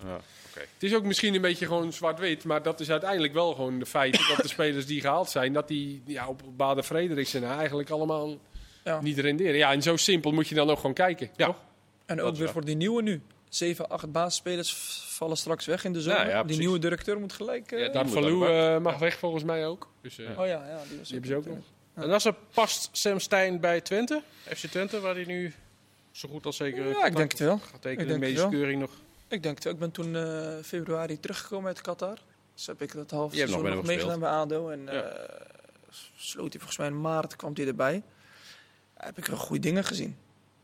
S10: Ja, oké.
S8: Het is ook misschien een beetje gewoon zwart-wit, maar dat is uiteindelijk wel gewoon de feit dat de spelers die gehaald zijn, dat die ja, op Baden Frederiksen eigenlijk allemaal niet renderen. Ja, en zo simpel moet je dan ook gewoon kijken. Ja. Toch?
S11: En
S8: Dat
S11: ook
S8: is
S11: weer
S8: waar.
S11: voor die nieuwe nu. 7, 8 basisspelers v- vallen straks weg in de zomer.
S10: Nou
S8: Ja, ja,
S11: die
S8: precies.
S11: nieuwe directeur moet gelijk. eh,
S8: Daar Falou eh, mag weg volgens mij ook. Dus, eh,
S11: Oh ja, ja, die was
S8: Die hebben ze ook nog.
S10: En Nasser past Sam Stein bij Twente, FC Twente, waar hij nu zo goed als zeker.
S11: Ja, ik denk het wel.
S10: Gaat
S11: Ik
S10: tekenen,
S11: denk
S10: de
S11: het
S10: medische
S11: wel.
S10: keuring nog.
S11: Ik denk het wel. Ik ben toen eh, februari teruggekomen uit Qatar. Dus heb ik dat half
S10: Je hebt nog
S11: seizoen
S10: met
S11: nog,
S10: hem
S11: meegedaan bij ADO. En
S10: Ja.
S11: eh, sloot hij volgens mij in maart, kwam hij erbij. Heb ik wel goede dingen gezien.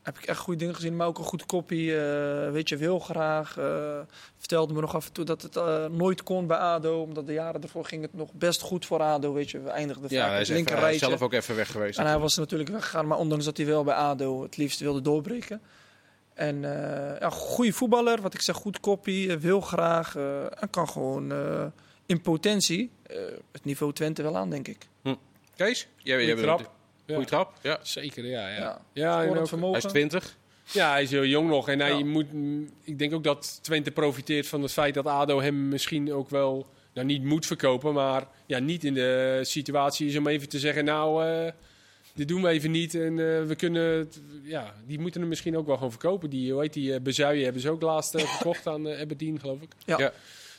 S11: Heb ik echt goede dingen gezien, maar ook een goed kopie. eh, weet je, wil graag. eh, vertelde me nog af en toe dat het eh, nooit kon bij ADO. Omdat de jaren ervoor ging het nog best goed voor ADO. Weet je, we eindigden
S10: Ja,
S11: vaak
S10: hij
S11: op
S10: is, even,
S11: het
S10: hij is
S11: linkerrijtje.
S10: zelf ook even weg geweest.
S11: En hij was natuurlijk weggegaan, maar ondanks dat hij wel bij ADO het liefst wilde doorbreken. En eh ja, goede voetballer, wat ik zeg, goed kopie, eh, wil graag eh, en kan gewoon eh, in potentie eh, het niveau Twente wel aan, denk ik.
S10: Kees, jij, jij
S11: Goeie
S10: bent-
S11: trap.
S10: Goeie trap. Ja.
S8: Zeker, ja. Ja,
S11: Ja.
S8: ja.
S11: Scorend
S8: en ook-
S11: vermogen.
S10: Hij is 20.
S8: Ja, hij is heel jong nog. En hij moet, mm, ik denk ook dat Twente profiteert van het feit dat ADO hem misschien ook wel... Nou, niet moet verkopen, maar ja, niet in de situatie is om even te zeggen... Nou, eh, dit doen we even niet en eh, we kunnen... het- ja, die moeten hem misschien ook wel gewoon verkopen. Die, hoe heet die, eh, Bezuijen hebben ze ook laatst eh, verkocht aan eh, Aberdeen, geloof ik.
S11: Ja.
S10: Ja.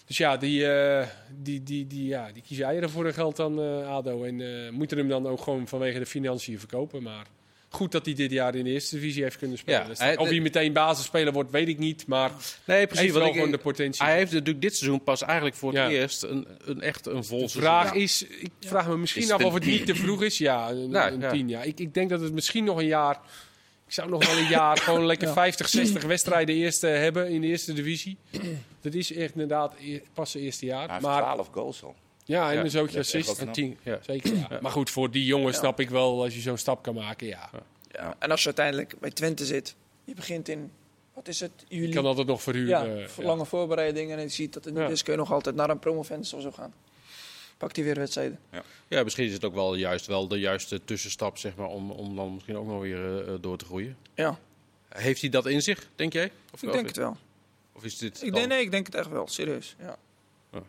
S8: Dus ja, die, eh, die, die, die, ja, die kiezen eieren voor hun geld dan eh, ADO. En eh, moeten hem dan ook gewoon vanwege de financiën verkopen. Maar goed dat hij dit jaar in de eerste divisie heeft kunnen spelen.
S10: Ja,
S8: Dus
S10: hij-
S8: of hij meteen basisspeler wordt, weet ik niet. Maar
S10: Nee,
S8: hij heeft
S10: precies.
S8: wel
S10: want ik-
S8: gewoon de potentie.
S10: Hij heeft natuurlijk dit seizoen pas eigenlijk voor het
S8: Ja.
S10: eerst een, een echt een vol
S8: de vraag
S10: seizoen.
S8: is, ik vraag me misschien
S10: Is het
S8: af of
S10: een
S8: het niet te vroeg is. Ja, een,
S10: Nou,
S8: een
S10: ja.
S8: tien jaar. Ik, ik denk dat het misschien nog een jaar... Ik zou nog wel een jaar gewoon lekker 50, 60 wedstrijden eerst eh, hebben in de eerste divisie. Dat is echt inderdaad e- pas zijn eerste jaar.
S7: Hij heeft
S8: maar
S7: 12 goals al.
S8: Ja, en
S10: Ja,
S8: een zootje
S7: dat is echt
S8: assist.
S7: wel
S8: En
S7: knap.
S8: tien, ja, zeker. ja. Maar goed, voor die jongen snap ik wel als je zo'n stap kan maken. Ja.
S11: Ja. En als je uiteindelijk bij Twente zit, je begint in, wat is het,
S8: Je
S11: juli?
S8: kan altijd nog
S11: ja,
S8: verhuren. eh,
S11: voor lange voorbereidingen en je ziet dat het niet
S8: Ja.
S11: is, kun je nog altijd naar een promovendus of zo gaan. Pakt hij weer wedstrijden.
S10: Ja, misschien is het ook wel juist wel de juiste tussenstap, zeg maar, om, om dan misschien ook nog weer eh, door te groeien.
S11: Ja,
S10: Heeft hij dat in zich, denk jij? Of,
S11: ik denk het wel.
S10: Of is dit
S11: Ik
S10: dan-
S11: denk, nee, ik denk het echt wel, serieus. Ja.
S10: Ja.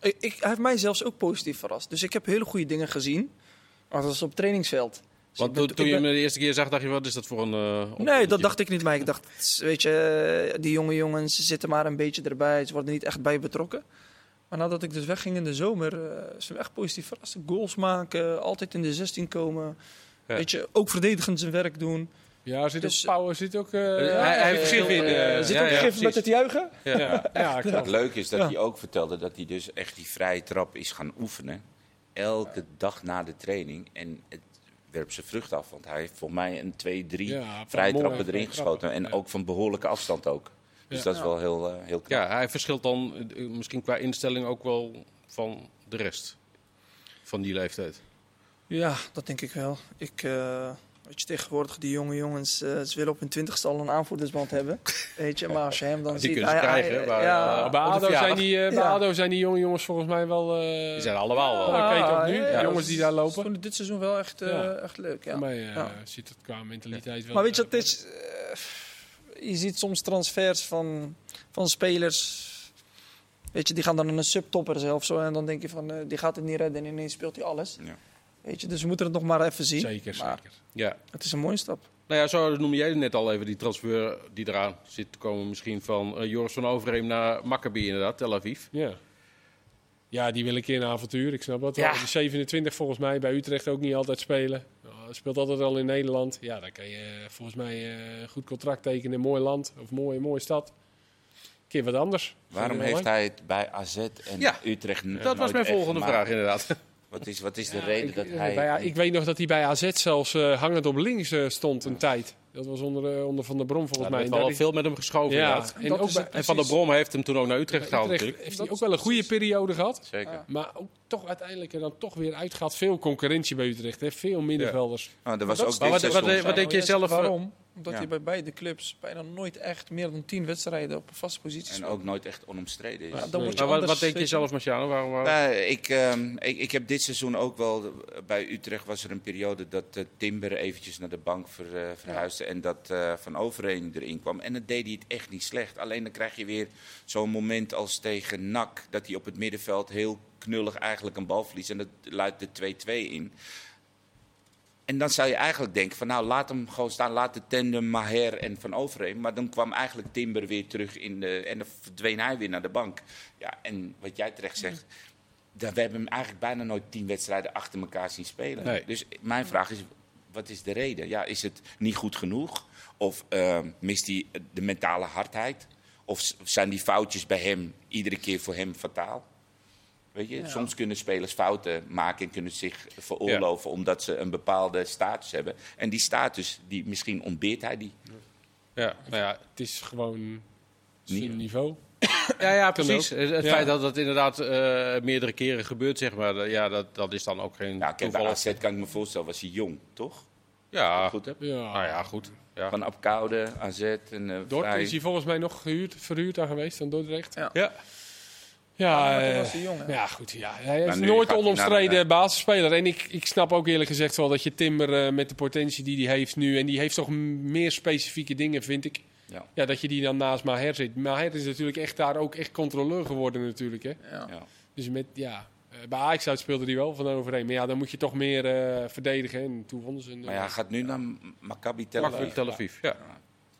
S11: Ik, ik, hij heeft mij zelfs ook positief verrast. Dus ik heb hele goede dingen gezien. Maar dat was op trainingsveld. Dus ik
S10: Want
S11: ben-
S10: toen, toen
S11: ik
S10: je
S11: ben-
S10: hem de eerste keer zag, dacht je, wat is dat voor een... eh,
S11: Nee, dat
S10: opzetje?
S11: dacht ik niet. Maar ik dacht, het is, weet je, eh, die jonge jongens ze zitten maar een beetje erbij. Ze worden niet echt bij betrokken. Maar nadat ik dus wegging in de zomer, eh, is hem echt positief verrast. Goals maken, altijd in de 16 komen.
S10: Ja.
S11: Weet je, ook verdedigend zijn werk doen.
S8: Ja, er zit
S11: Dus-
S8: ook power, zit ook... eh,
S10: hij- hij heeft
S8: eh,
S10: gif in,
S8: eh,
S10: eh,
S11: Zit
S10: ja,
S11: ook
S10: ja,
S11: gif met
S10: precies.
S11: het juichen.
S10: Ja.
S8: Ja, ja, klopt.
S7: Het leuke is dat
S11: Ja.
S7: hij ook vertelde dat hij dus echt die vrije trap is gaan oefenen. Elke dag na de training. En het werpt zijn vrucht af. Want hij heeft volgens mij een twee, drie
S8: Ja, van
S7: vrije
S8: Molle
S7: trappen
S8: heeft
S7: erin
S8: vrije trappen,
S7: geschoten. En
S8: ja.
S7: ook van behoorlijke afstand ook. Dus
S8: Ja.
S7: dat is wel heel, eh, heel knap.
S10: Ja, hij verschilt dan eh, misschien qua instelling ook wel van de rest van die leeftijd.
S11: Ja, dat denk ik wel. Ik, eh, weet je, tegenwoordig die jonge jongens, eh, ze willen op hun twintigste al een aanvoerdersband hebben. Weet je, maar als je hem dan
S10: Die
S11: ziet...
S10: kunnen ze
S11: hij- hij-
S10: krijgen, maar,
S11: ja,
S10: eh,
S8: Bij
S10: Op de
S8: ADO, zijn
S10: verjaardag.
S8: die, eh, bij
S11: Ja.
S8: ADO zijn die jonge jongens volgens mij wel... eh,
S10: Die zijn allemaal wel.
S8: Ja. dat kan je toch nu?
S11: ja,
S8: Die
S11: ja,
S8: jongens
S11: ze-
S8: die daar
S11: ze
S8: lopen.
S11: vonden dit seizoen wel echt, eh,
S8: Ja.
S11: echt leuk, ja.
S8: Voor mij eh,
S11: Ja.
S8: zit het qua mentaliteit wel...
S11: Maar weet je,
S8: eh,
S11: dat is, eh, je ziet soms transfers van, van spelers. Weet je, die gaan dan naar een subtopper zelf zo. En dan denk je van, eh, die gaat het niet redden. En ineens speelt hij alles.
S7: Ja.
S11: Weet je, dus we moeten het nog maar even zien.
S8: Zeker,
S11: Maar
S8: zeker.
S10: Ja.
S11: Het is een mooie stap.
S10: Nou ja, zo noemde jij net al even die transfer die eraan zit te komen. Misschien van eh, Joris van Overheem naar Maccabi inderdaad, Tel Aviv.
S8: Ja. Ja, die wil een keer een avontuur. Ik snap dat. wel. De 27 volgens mij bij Utrecht ook niet altijd spelen. Ja, speelt altijd al in Nederland. Ja, dan kan je eh, volgens mij eh, een goed contract tekenen. Mooi land of mooie, mooie stad. keer wat anders.
S7: Waarom heeft hij het bij AZ en
S6: Ja,
S7: Utrecht n-
S8: nou,
S6: Dat was
S7: nooit
S6: mijn
S7: echt
S6: volgende
S7: gemaakt?
S6: vraag inderdaad.
S7: Wat is, wat is de reden dat
S6: eh,
S7: hij...
S8: Bij- ja, ik weet nog dat hij bij AZ zelfs eh, hangend op links eh, stond een tijd. Dat was onder, eh, onder Van der Brom volgens
S6: Ja, er
S8: mij.
S6: heeft
S8: En
S6: wel
S8: daar
S6: veel met hem geschoven
S8: Ja,
S6: inderdaad.
S8: en
S6: En,
S8: dat
S6: ook
S8: is
S6: bij-
S8: het
S6: en Van der
S8: precies.
S6: Brom heeft hem toen ook naar Utrecht gehaald
S8: Utrecht
S6: natuurlijk.
S8: heeft hij ook wel een goede periode gehad.
S7: Zeker.
S8: Maar ook toch uiteindelijk er dan toch weer uitgaat. Veel concurrentie bij Utrecht. Hè? Veel middenvelders.
S7: Nou, dat was
S11: dat
S7: ook
S11: is-
S7: dit
S6: Maar wat- wat-
S7: seizoen
S6: wat
S7: zo.
S6: denk je
S11: Juist
S6: zelf, eh,
S11: Waarom? Omdat
S7: ja.
S11: hij bij beide clubs bijna nooit echt meer dan 10 wedstrijden op een vaste positie
S7: En
S11: speelt.
S7: ook nooit echt onomstreden is.
S11: Ja, dan moet je
S6: Maar wat,
S11: anders
S6: wat denk je
S11: zitten.
S6: zelf, Marciano? Waarom, waarom-
S7: Nou, ik, ehm, ik, ik heb dit seizoen ook wel. eh, Bij Utrecht was er een periode dat eh, Timber eventjes naar de bank ver, eh, verhuisde. En dat eh, Van Overeen erin kwam. En dat deed hij het echt niet slecht. Alleen dan krijg je weer zo'n moment als tegen NAC. Dat hij op het middenveld heel knullig eigenlijk een bal verliest. En dat luidt de 2-2 in. En dan zou je eigenlijk denken van nou laat hem gewoon staan, laat de tandem Maher en Van Overheem. Maar dan kwam eigenlijk Timber weer terug in de, en dan verdween hij weer naar de bank. Ja, en wat jij terecht zegt, dat, we hebben hem eigenlijk bijna nooit tien wedstrijden achter elkaar zien spelen.
S6: Nee.
S7: Dus mijn vraag is, wat is de reden? Ja, is het niet goed genoeg? Of eh, mist hij de mentale hardheid? Of s- zijn die foutjes bij hem iedere keer voor hem fataal? Weet je, soms kunnen spelers fouten maken en kunnen zich veroorloven omdat ze een bepaalde status hebben. En die status, die, misschien ontbeert hij die.
S6: Ja, nou ja,
S8: Het is gewoon
S7: Niet.
S8: zijn niveau.
S6: Ja, ja precies.
S8: ook.
S6: Het het
S8: Ja.
S6: feit dat dat inderdaad eh, meerdere keren gebeurt, zeg maar, dat- ja, dat, dat is dan ook geen
S7: Ja, kijk, bij
S6: toeval.
S7: AZ kan ik me voorstellen, was hij jong, toch?
S8: Ah.
S6: Ja,
S7: Goed heb.
S8: Ja.
S6: nou ja, goed. Ja.
S7: Van Apkoude, AZ en eh
S8: Dort
S7: Vrij.
S8: is hij volgens mij nog gehuurd, verhuurd aan geweest aan Dordrecht.
S11: Ja.
S6: Ja.
S8: Ja,
S11: maar toen
S8: eh,
S11: was hij jong, hè?
S8: ja, goed. Ja. Hij is
S7: Maar nu
S8: nooit
S7: gaat hij
S8: onomstreden
S7: naar eh, een,
S8: basisspeler. En ik, ik snap ook eerlijk gezegd wel dat je Timber eh, met de potentie die hij heeft nu... en die heeft toch m- meer specifieke dingen, vind ik.
S7: Ja.
S8: Ja, dat je die dan naast Maher zit. Maher is natuurlijk echt daar ook echt controleur geworden natuurlijk. Hè?
S7: Ja.
S8: Dus met, ja... eh, Bij Ajax uit speelde hij wel van overeen. Maar ja, dan moet je toch meer eh, verdedigen. En toen wonnen ze. een-
S7: Maar ja, hij gaat nu naar M- Maccabi Tel
S6: Makkelijk
S7: Aviv.
S6: Tel Aviv. Ja.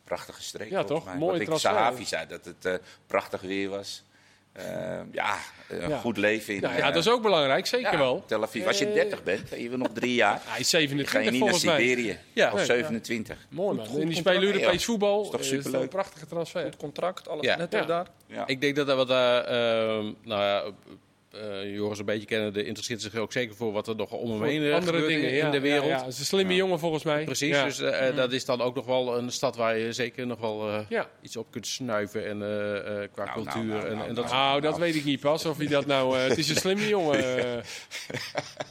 S7: Prachtige streek.
S8: Ja,
S7: volgens
S8: toch?
S7: mij.
S8: Mooie
S7: Wat ik
S8: transfer.
S7: Sahavi zei, dat het eh, prachtig weer was. Eh, ja, een
S8: Ja.
S7: goed leven in
S8: Nou
S7: eh,
S8: ja, dat is ook belangrijk. Zeker
S7: ja,
S8: wel.
S7: Tel Aviv. Als je
S8: Eh,
S7: 30 bent, en je wil nog drie jaar,
S8: Hij is
S7: dan ga je
S8: 27
S7: niet naar
S8: volgens mij.
S7: Siberië.
S6: Ja.
S7: Of
S6: Nee.
S7: 27.
S8: Mooi man. en die
S11: contract.
S8: spelen Europees
S7: Ja,
S8: voetbal.
S7: is toch
S8: Eh,
S7: superleuk?
S8: een prachtige transfer.
S11: Het contract, alles
S6: Ja.
S11: net
S8: Ja.
S11: op daar.
S7: Ja.
S6: Ik denk dat dat wat, eh, ehm, nou ja, eh, eh, Joris een beetje kennen, de interesseert zich ook zeker voor wat er nog om hem heen eh,
S8: Andere
S6: gebeurt in-
S8: dingen
S6: in, de wereld.
S8: Ja, ja. Het is een slimme jongen volgens mij.
S6: Precies,
S8: Ja. Mm-hmm.
S6: dus eh, eh, dat is dan ook nog wel een stad waar je zeker nog wel eh,
S8: Ja.
S6: iets op kunt snuiven en, eh, eh, qua
S7: Nou, nou,
S6: cultuur.
S7: nou,
S6: en,
S7: nou,
S6: en dat
S7: nou.
S8: Nou, dat weet ik niet pas. Of hij dat nou. eh, het is een slimme jongen. eh.
S6: Nou,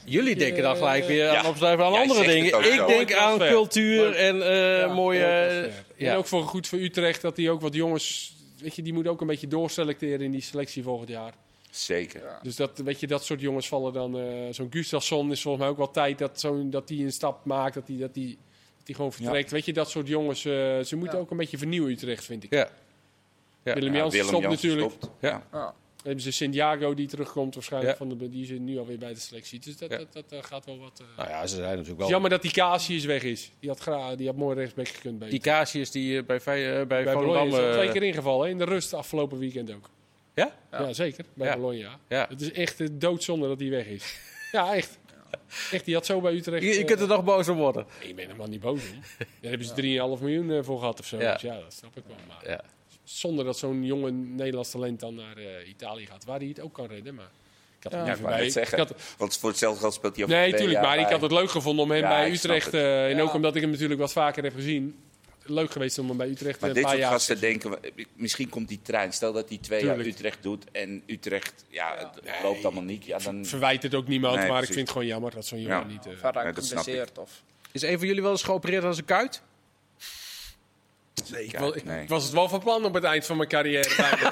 S6: Jullie denken dan gelijk weer aan
S7: Ja.
S6: opschuiven aan
S7: Jij
S6: andere
S7: zegt het
S6: dingen.
S7: ook
S6: Ik
S7: zo.
S6: denk
S8: Mooi
S6: aan
S8: transfer.
S6: cultuur
S8: Leuk.
S6: en eh,
S8: Ja,
S6: mooie...
S8: mooi transfer.
S6: ja.
S8: En ook voor, goed voor Utrecht dat hij ook wat jongens. Weet je, die moet ook een beetje doorselecteren in die selectie volgend jaar.
S7: Zeker.
S8: Dus dat, weet je, dat soort jongens vallen dan. eh, zo'n Gustafsson is volgens mij ook wel tijd dat, zo'n dat die een stap maakt. Dat die, dat die, dat die gewoon vertrekt. Weet je, dat soort jongens. eh, ze moeten ook een beetje vernieuwen, Utrecht, vind ik.
S6: Ja. Ja.
S8: Willem
S7: Ja,
S8: Jansen
S7: Willem
S8: stopt
S7: Jansen
S8: natuurlijk.
S7: stopt.
S6: Ja.
S7: Ja.
S8: Dan hebben ze Santiago die terugkomt waarschijnlijk.
S6: Ja.
S8: Van de, die zit nu alweer bij de selectie. Dus dat,
S6: Ja.
S8: dat, dat, eh, gaat wel wat... eh.
S6: Nou ja, ze zijn natuurlijk
S8: Het
S6: wel...
S8: is jammer dat die Casius weg is. Die had, gra die had mooi rechtsback gekund bij
S6: Die Casius die eh, bij, Vij- eh, bij,
S8: Bij Bologna
S6: Volendam...
S8: is al
S6: eh,
S8: twee keer ingevallen. hè, In de rust afgelopen weekend ook.
S6: Ja?
S8: Ja, zeker. Bij
S6: Ja.
S8: Bologna.
S6: Ja.
S8: Het is echt eh, doodzonde dat hij weg is. ja, echt. Echt, die had zo bij Utrecht...
S6: Je, je
S8: eh,
S6: kunt er nog boos op worden.
S8: nee, Ik ben helemaal niet boos om. Daar hebben ze 3,5 miljoen eh, voor gehad of zo.
S6: Ja.
S8: Dus ja, dat snap ik wel. Maar
S6: Ja.
S8: zonder dat zo'n jonge Nederlands talent dan naar eh, Italië gaat. Waar hij het ook kan redden, maar... Ik had hem
S7: Ja, ik
S8: liever
S7: wou
S8: bij-
S7: net zeggen.
S8: ik had-
S7: Want voor hetzelfde geld speelt hij over
S8: Nee,
S7: twee
S8: tuurlijk.
S7: jaar
S8: Maar ik
S7: bij.
S8: had het leuk gevonden om hem
S7: Ja,
S8: bij
S7: ik snap
S8: Utrecht.
S7: het.
S8: eh, en ook omdat ik hem natuurlijk wat vaker heb gezien. Leuk geweest om hem bij Utrecht
S7: Maar
S8: eh,
S7: dit
S8: een
S7: soort
S8: paar jaar
S7: gasten denken, we, eh, misschien komt die trein. Stel dat hij twee jaar
S8: Tuurlijk.
S7: Utrecht doet en Utrecht, ja, het loopt allemaal niet. Ja, dan...
S8: Verwijt het ook niemand,
S7: Nee,
S8: maar
S7: precies.
S8: ik vind het gewoon jammer dat zo'n jongen
S7: Ja.
S8: niet. eh,
S11: Vaak
S7: Ja, dat snap ik.
S11: geblesseerd of...
S6: Is een van jullie wel eens geopereerd als een kuit?
S7: Zeker.
S8: Wel, ik
S7: nee.
S8: was het wel van plan op het eind van mijn carrière. bijna.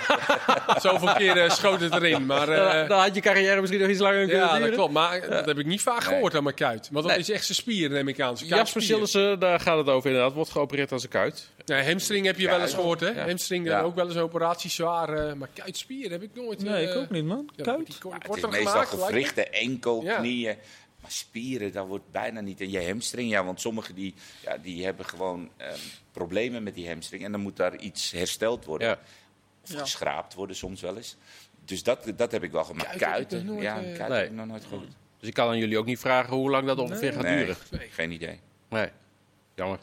S8: Zoveel keer eh, schoot het erin. Maar, eh,
S6: dan, dan had je carrière misschien nog iets langer kunnen
S8: ja,
S6: duren.
S8: dat klopt. Maar dat heb ik niet vaak gehoord aan mijn kuit. Want dat
S6: Nee.
S8: is echt zijn spier, neem ik aan. Zijn
S6: Jasper
S8: kuitspier.
S6: Sillissen, daar gaat het over inderdaad. Wordt geopereerd als een kuit.
S8: Nee, hamstring heb je wel eens gehoord, hè? Hamstring,
S7: Ja.
S8: eh, ook wel eens een operatie zwaar. eh, maar kuitspier heb ik nooit.
S11: Nee,
S8: eh,
S11: ik ook niet, man.
S8: ja,
S11: Kuit.
S8: die kort-
S7: Maar het
S8: korter
S7: is meestal
S8: gemaakt, lijkt me.
S7: gewrichten, enkel,
S8: Ja.
S7: knieën. Maar spieren, dat wordt bijna niet. En je hamstring, ja, want sommigen die, ja, die hebben gewoon ehm, problemen met die hamstring. En dan moet daar iets hersteld worden.
S6: Ja.
S7: Of geschraapt worden soms wel eens. Dus dat, dat heb ik wel gemaakt.
S8: Kuiten heb ik
S7: Kuiten,
S8: nog nooit,
S7: ja,
S8: eh,
S7: kuiten
S6: Nee.
S7: heb ik nog nooit gehoord.
S6: Dus ik kan aan jullie ook niet vragen hoe lang dat ongeveer gaat
S7: Nee,
S6: duren.
S7: geen idee.
S6: Nee. Jammer.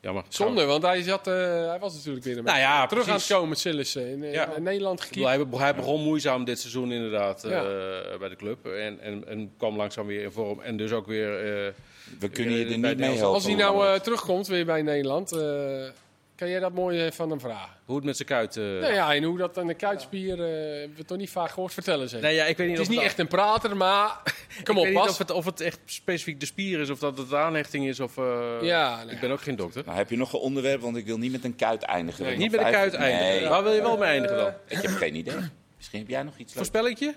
S6: Jammer.
S8: Zonde, want hij, zat, eh, hij was natuurlijk weer een
S6: Nou ja,
S8: terug
S6: precies.
S8: aan het komen, Sillissen. In, in-
S6: Ja.
S8: in Nederland
S6: Ik bedoel,
S8: gekiept.
S6: Hij, be- hij begon moeizaam dit seizoen inderdaad eh,
S8: Ja.
S6: bij de club. En, en, en kwam langzaam weer in vorm. En dus ook weer... eh,
S7: We kunnen je
S6: bij
S7: er niet mee
S6: Nederland.
S7: helpen.
S8: Als hij nou eh, terugkomt weer bij Nederland, eh, kan jij dat mooi eh, van hem vragen?
S6: hoe het met zijn kuit... eh,
S8: Nou ja, en hoe dat aan de kuitspier, eh, hebben we toch niet vaak gehoord vertellen ze.
S6: Nee, ja, ik weet niet of
S8: het is niet
S6: dat-
S8: echt een prater, maar kom
S6: ik
S8: op,
S6: weet niet
S8: pas.
S6: of het, of het echt specifiek de spier is of dat het de aanhechting is. Of, eh,
S8: Ja, nou ja.
S6: Ik ben ook geen dokter.
S7: Nou, heb je nog een onderwerp? Want ik wil niet met een kuit eindigen.
S6: Nee,
S7: Nog
S6: niet met de
S7: vijf-
S6: kuit eindigen.
S7: Nee,
S6: Waar wil je wel mee eindigen dan?
S7: ik heb geen idee. Misschien heb jij nog iets leuks.
S6: Voorspellingje?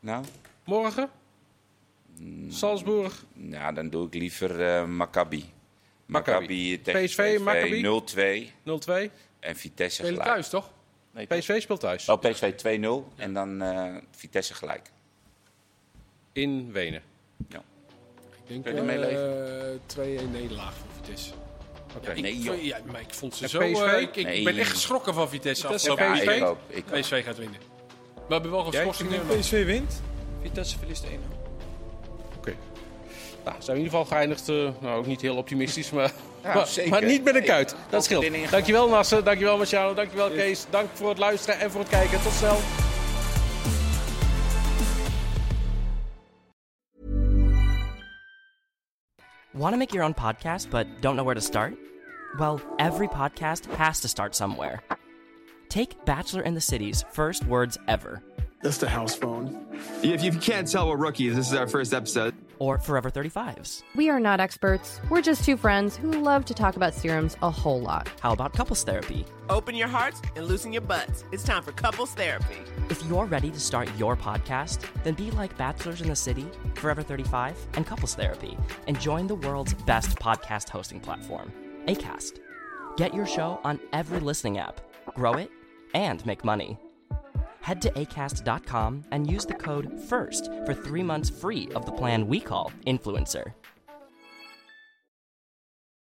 S7: Nou,
S6: Morgen?
S7: Mm.
S6: Salzburg?
S7: nou, dan doe ik liever eh, Maccabi.
S6: Maccabi.
S7: Maccabi tegen
S6: PSV, Maccabi.
S7: 0-2
S6: 0-2?
S7: en Vitesse
S8: Spelen
S7: gelijk.
S8: thuis, toch?
S6: PSV speelt thuis.
S7: Oh, PSV 2-0 en dan eh, Vitesse gelijk.
S6: In Wenen.
S8: Ik denk
S7: Kun je ermee
S8: eh 2-1 nederlaag voor Vitesse.
S6: Oké.
S7: Nee,
S8: Ik,
S7: joh.
S8: ja, maar ik vond ze
S6: En
S8: zo...
S6: PSV?
S8: eh, ik ik
S7: Nee.
S8: ben echt geschrokken van Vitesse afgelopen
S7: Ja,
S8: PSV?
S7: ik ook. Ik ook.
S8: PSV gaat winnen. We hebben wel
S6: Jij?
S8: geschorsing.
S13: PSV wint, Vitesse verliest 1-0.
S6: Nou, zijn we in ieder geval geëindigd. eh, nou, ook niet heel optimistisch, maar,
S7: Ja,
S6: maar,
S7: zeker.
S6: maar niet met een
S7: Nee,
S6: kuit. Dat scheelt.
S7: overwinning.
S6: Dankjewel Nassen, dankjewel Marciano, dankjewel Kees. Dank voor het luisteren en voor het kijken. Tot snel.
S1: Want to make your own podcast but don't know where to start? Well, every podcast has to start somewhere. Take Bachelor in the City's first words ever,
S11: That's the house phone.
S3: If you can't tell, we're rookies. This is our first episode.
S1: or Forever 35's.
S4: We are not experts. We're just two friends who love to talk about serums a whole lot.
S1: How about couples therapy?
S5: Open your hearts and loosen your butts. It's time for couples therapy.
S1: If you're ready to start your podcast, then be like Bachelors in the City, Forever 35, and Couples Therapy, and join the world's best podcast hosting platform, ACAST. Get your show on every listening app, grow it, and make money. Head to acast.com and use the code FIRST for three months free of the plan we call Influencer.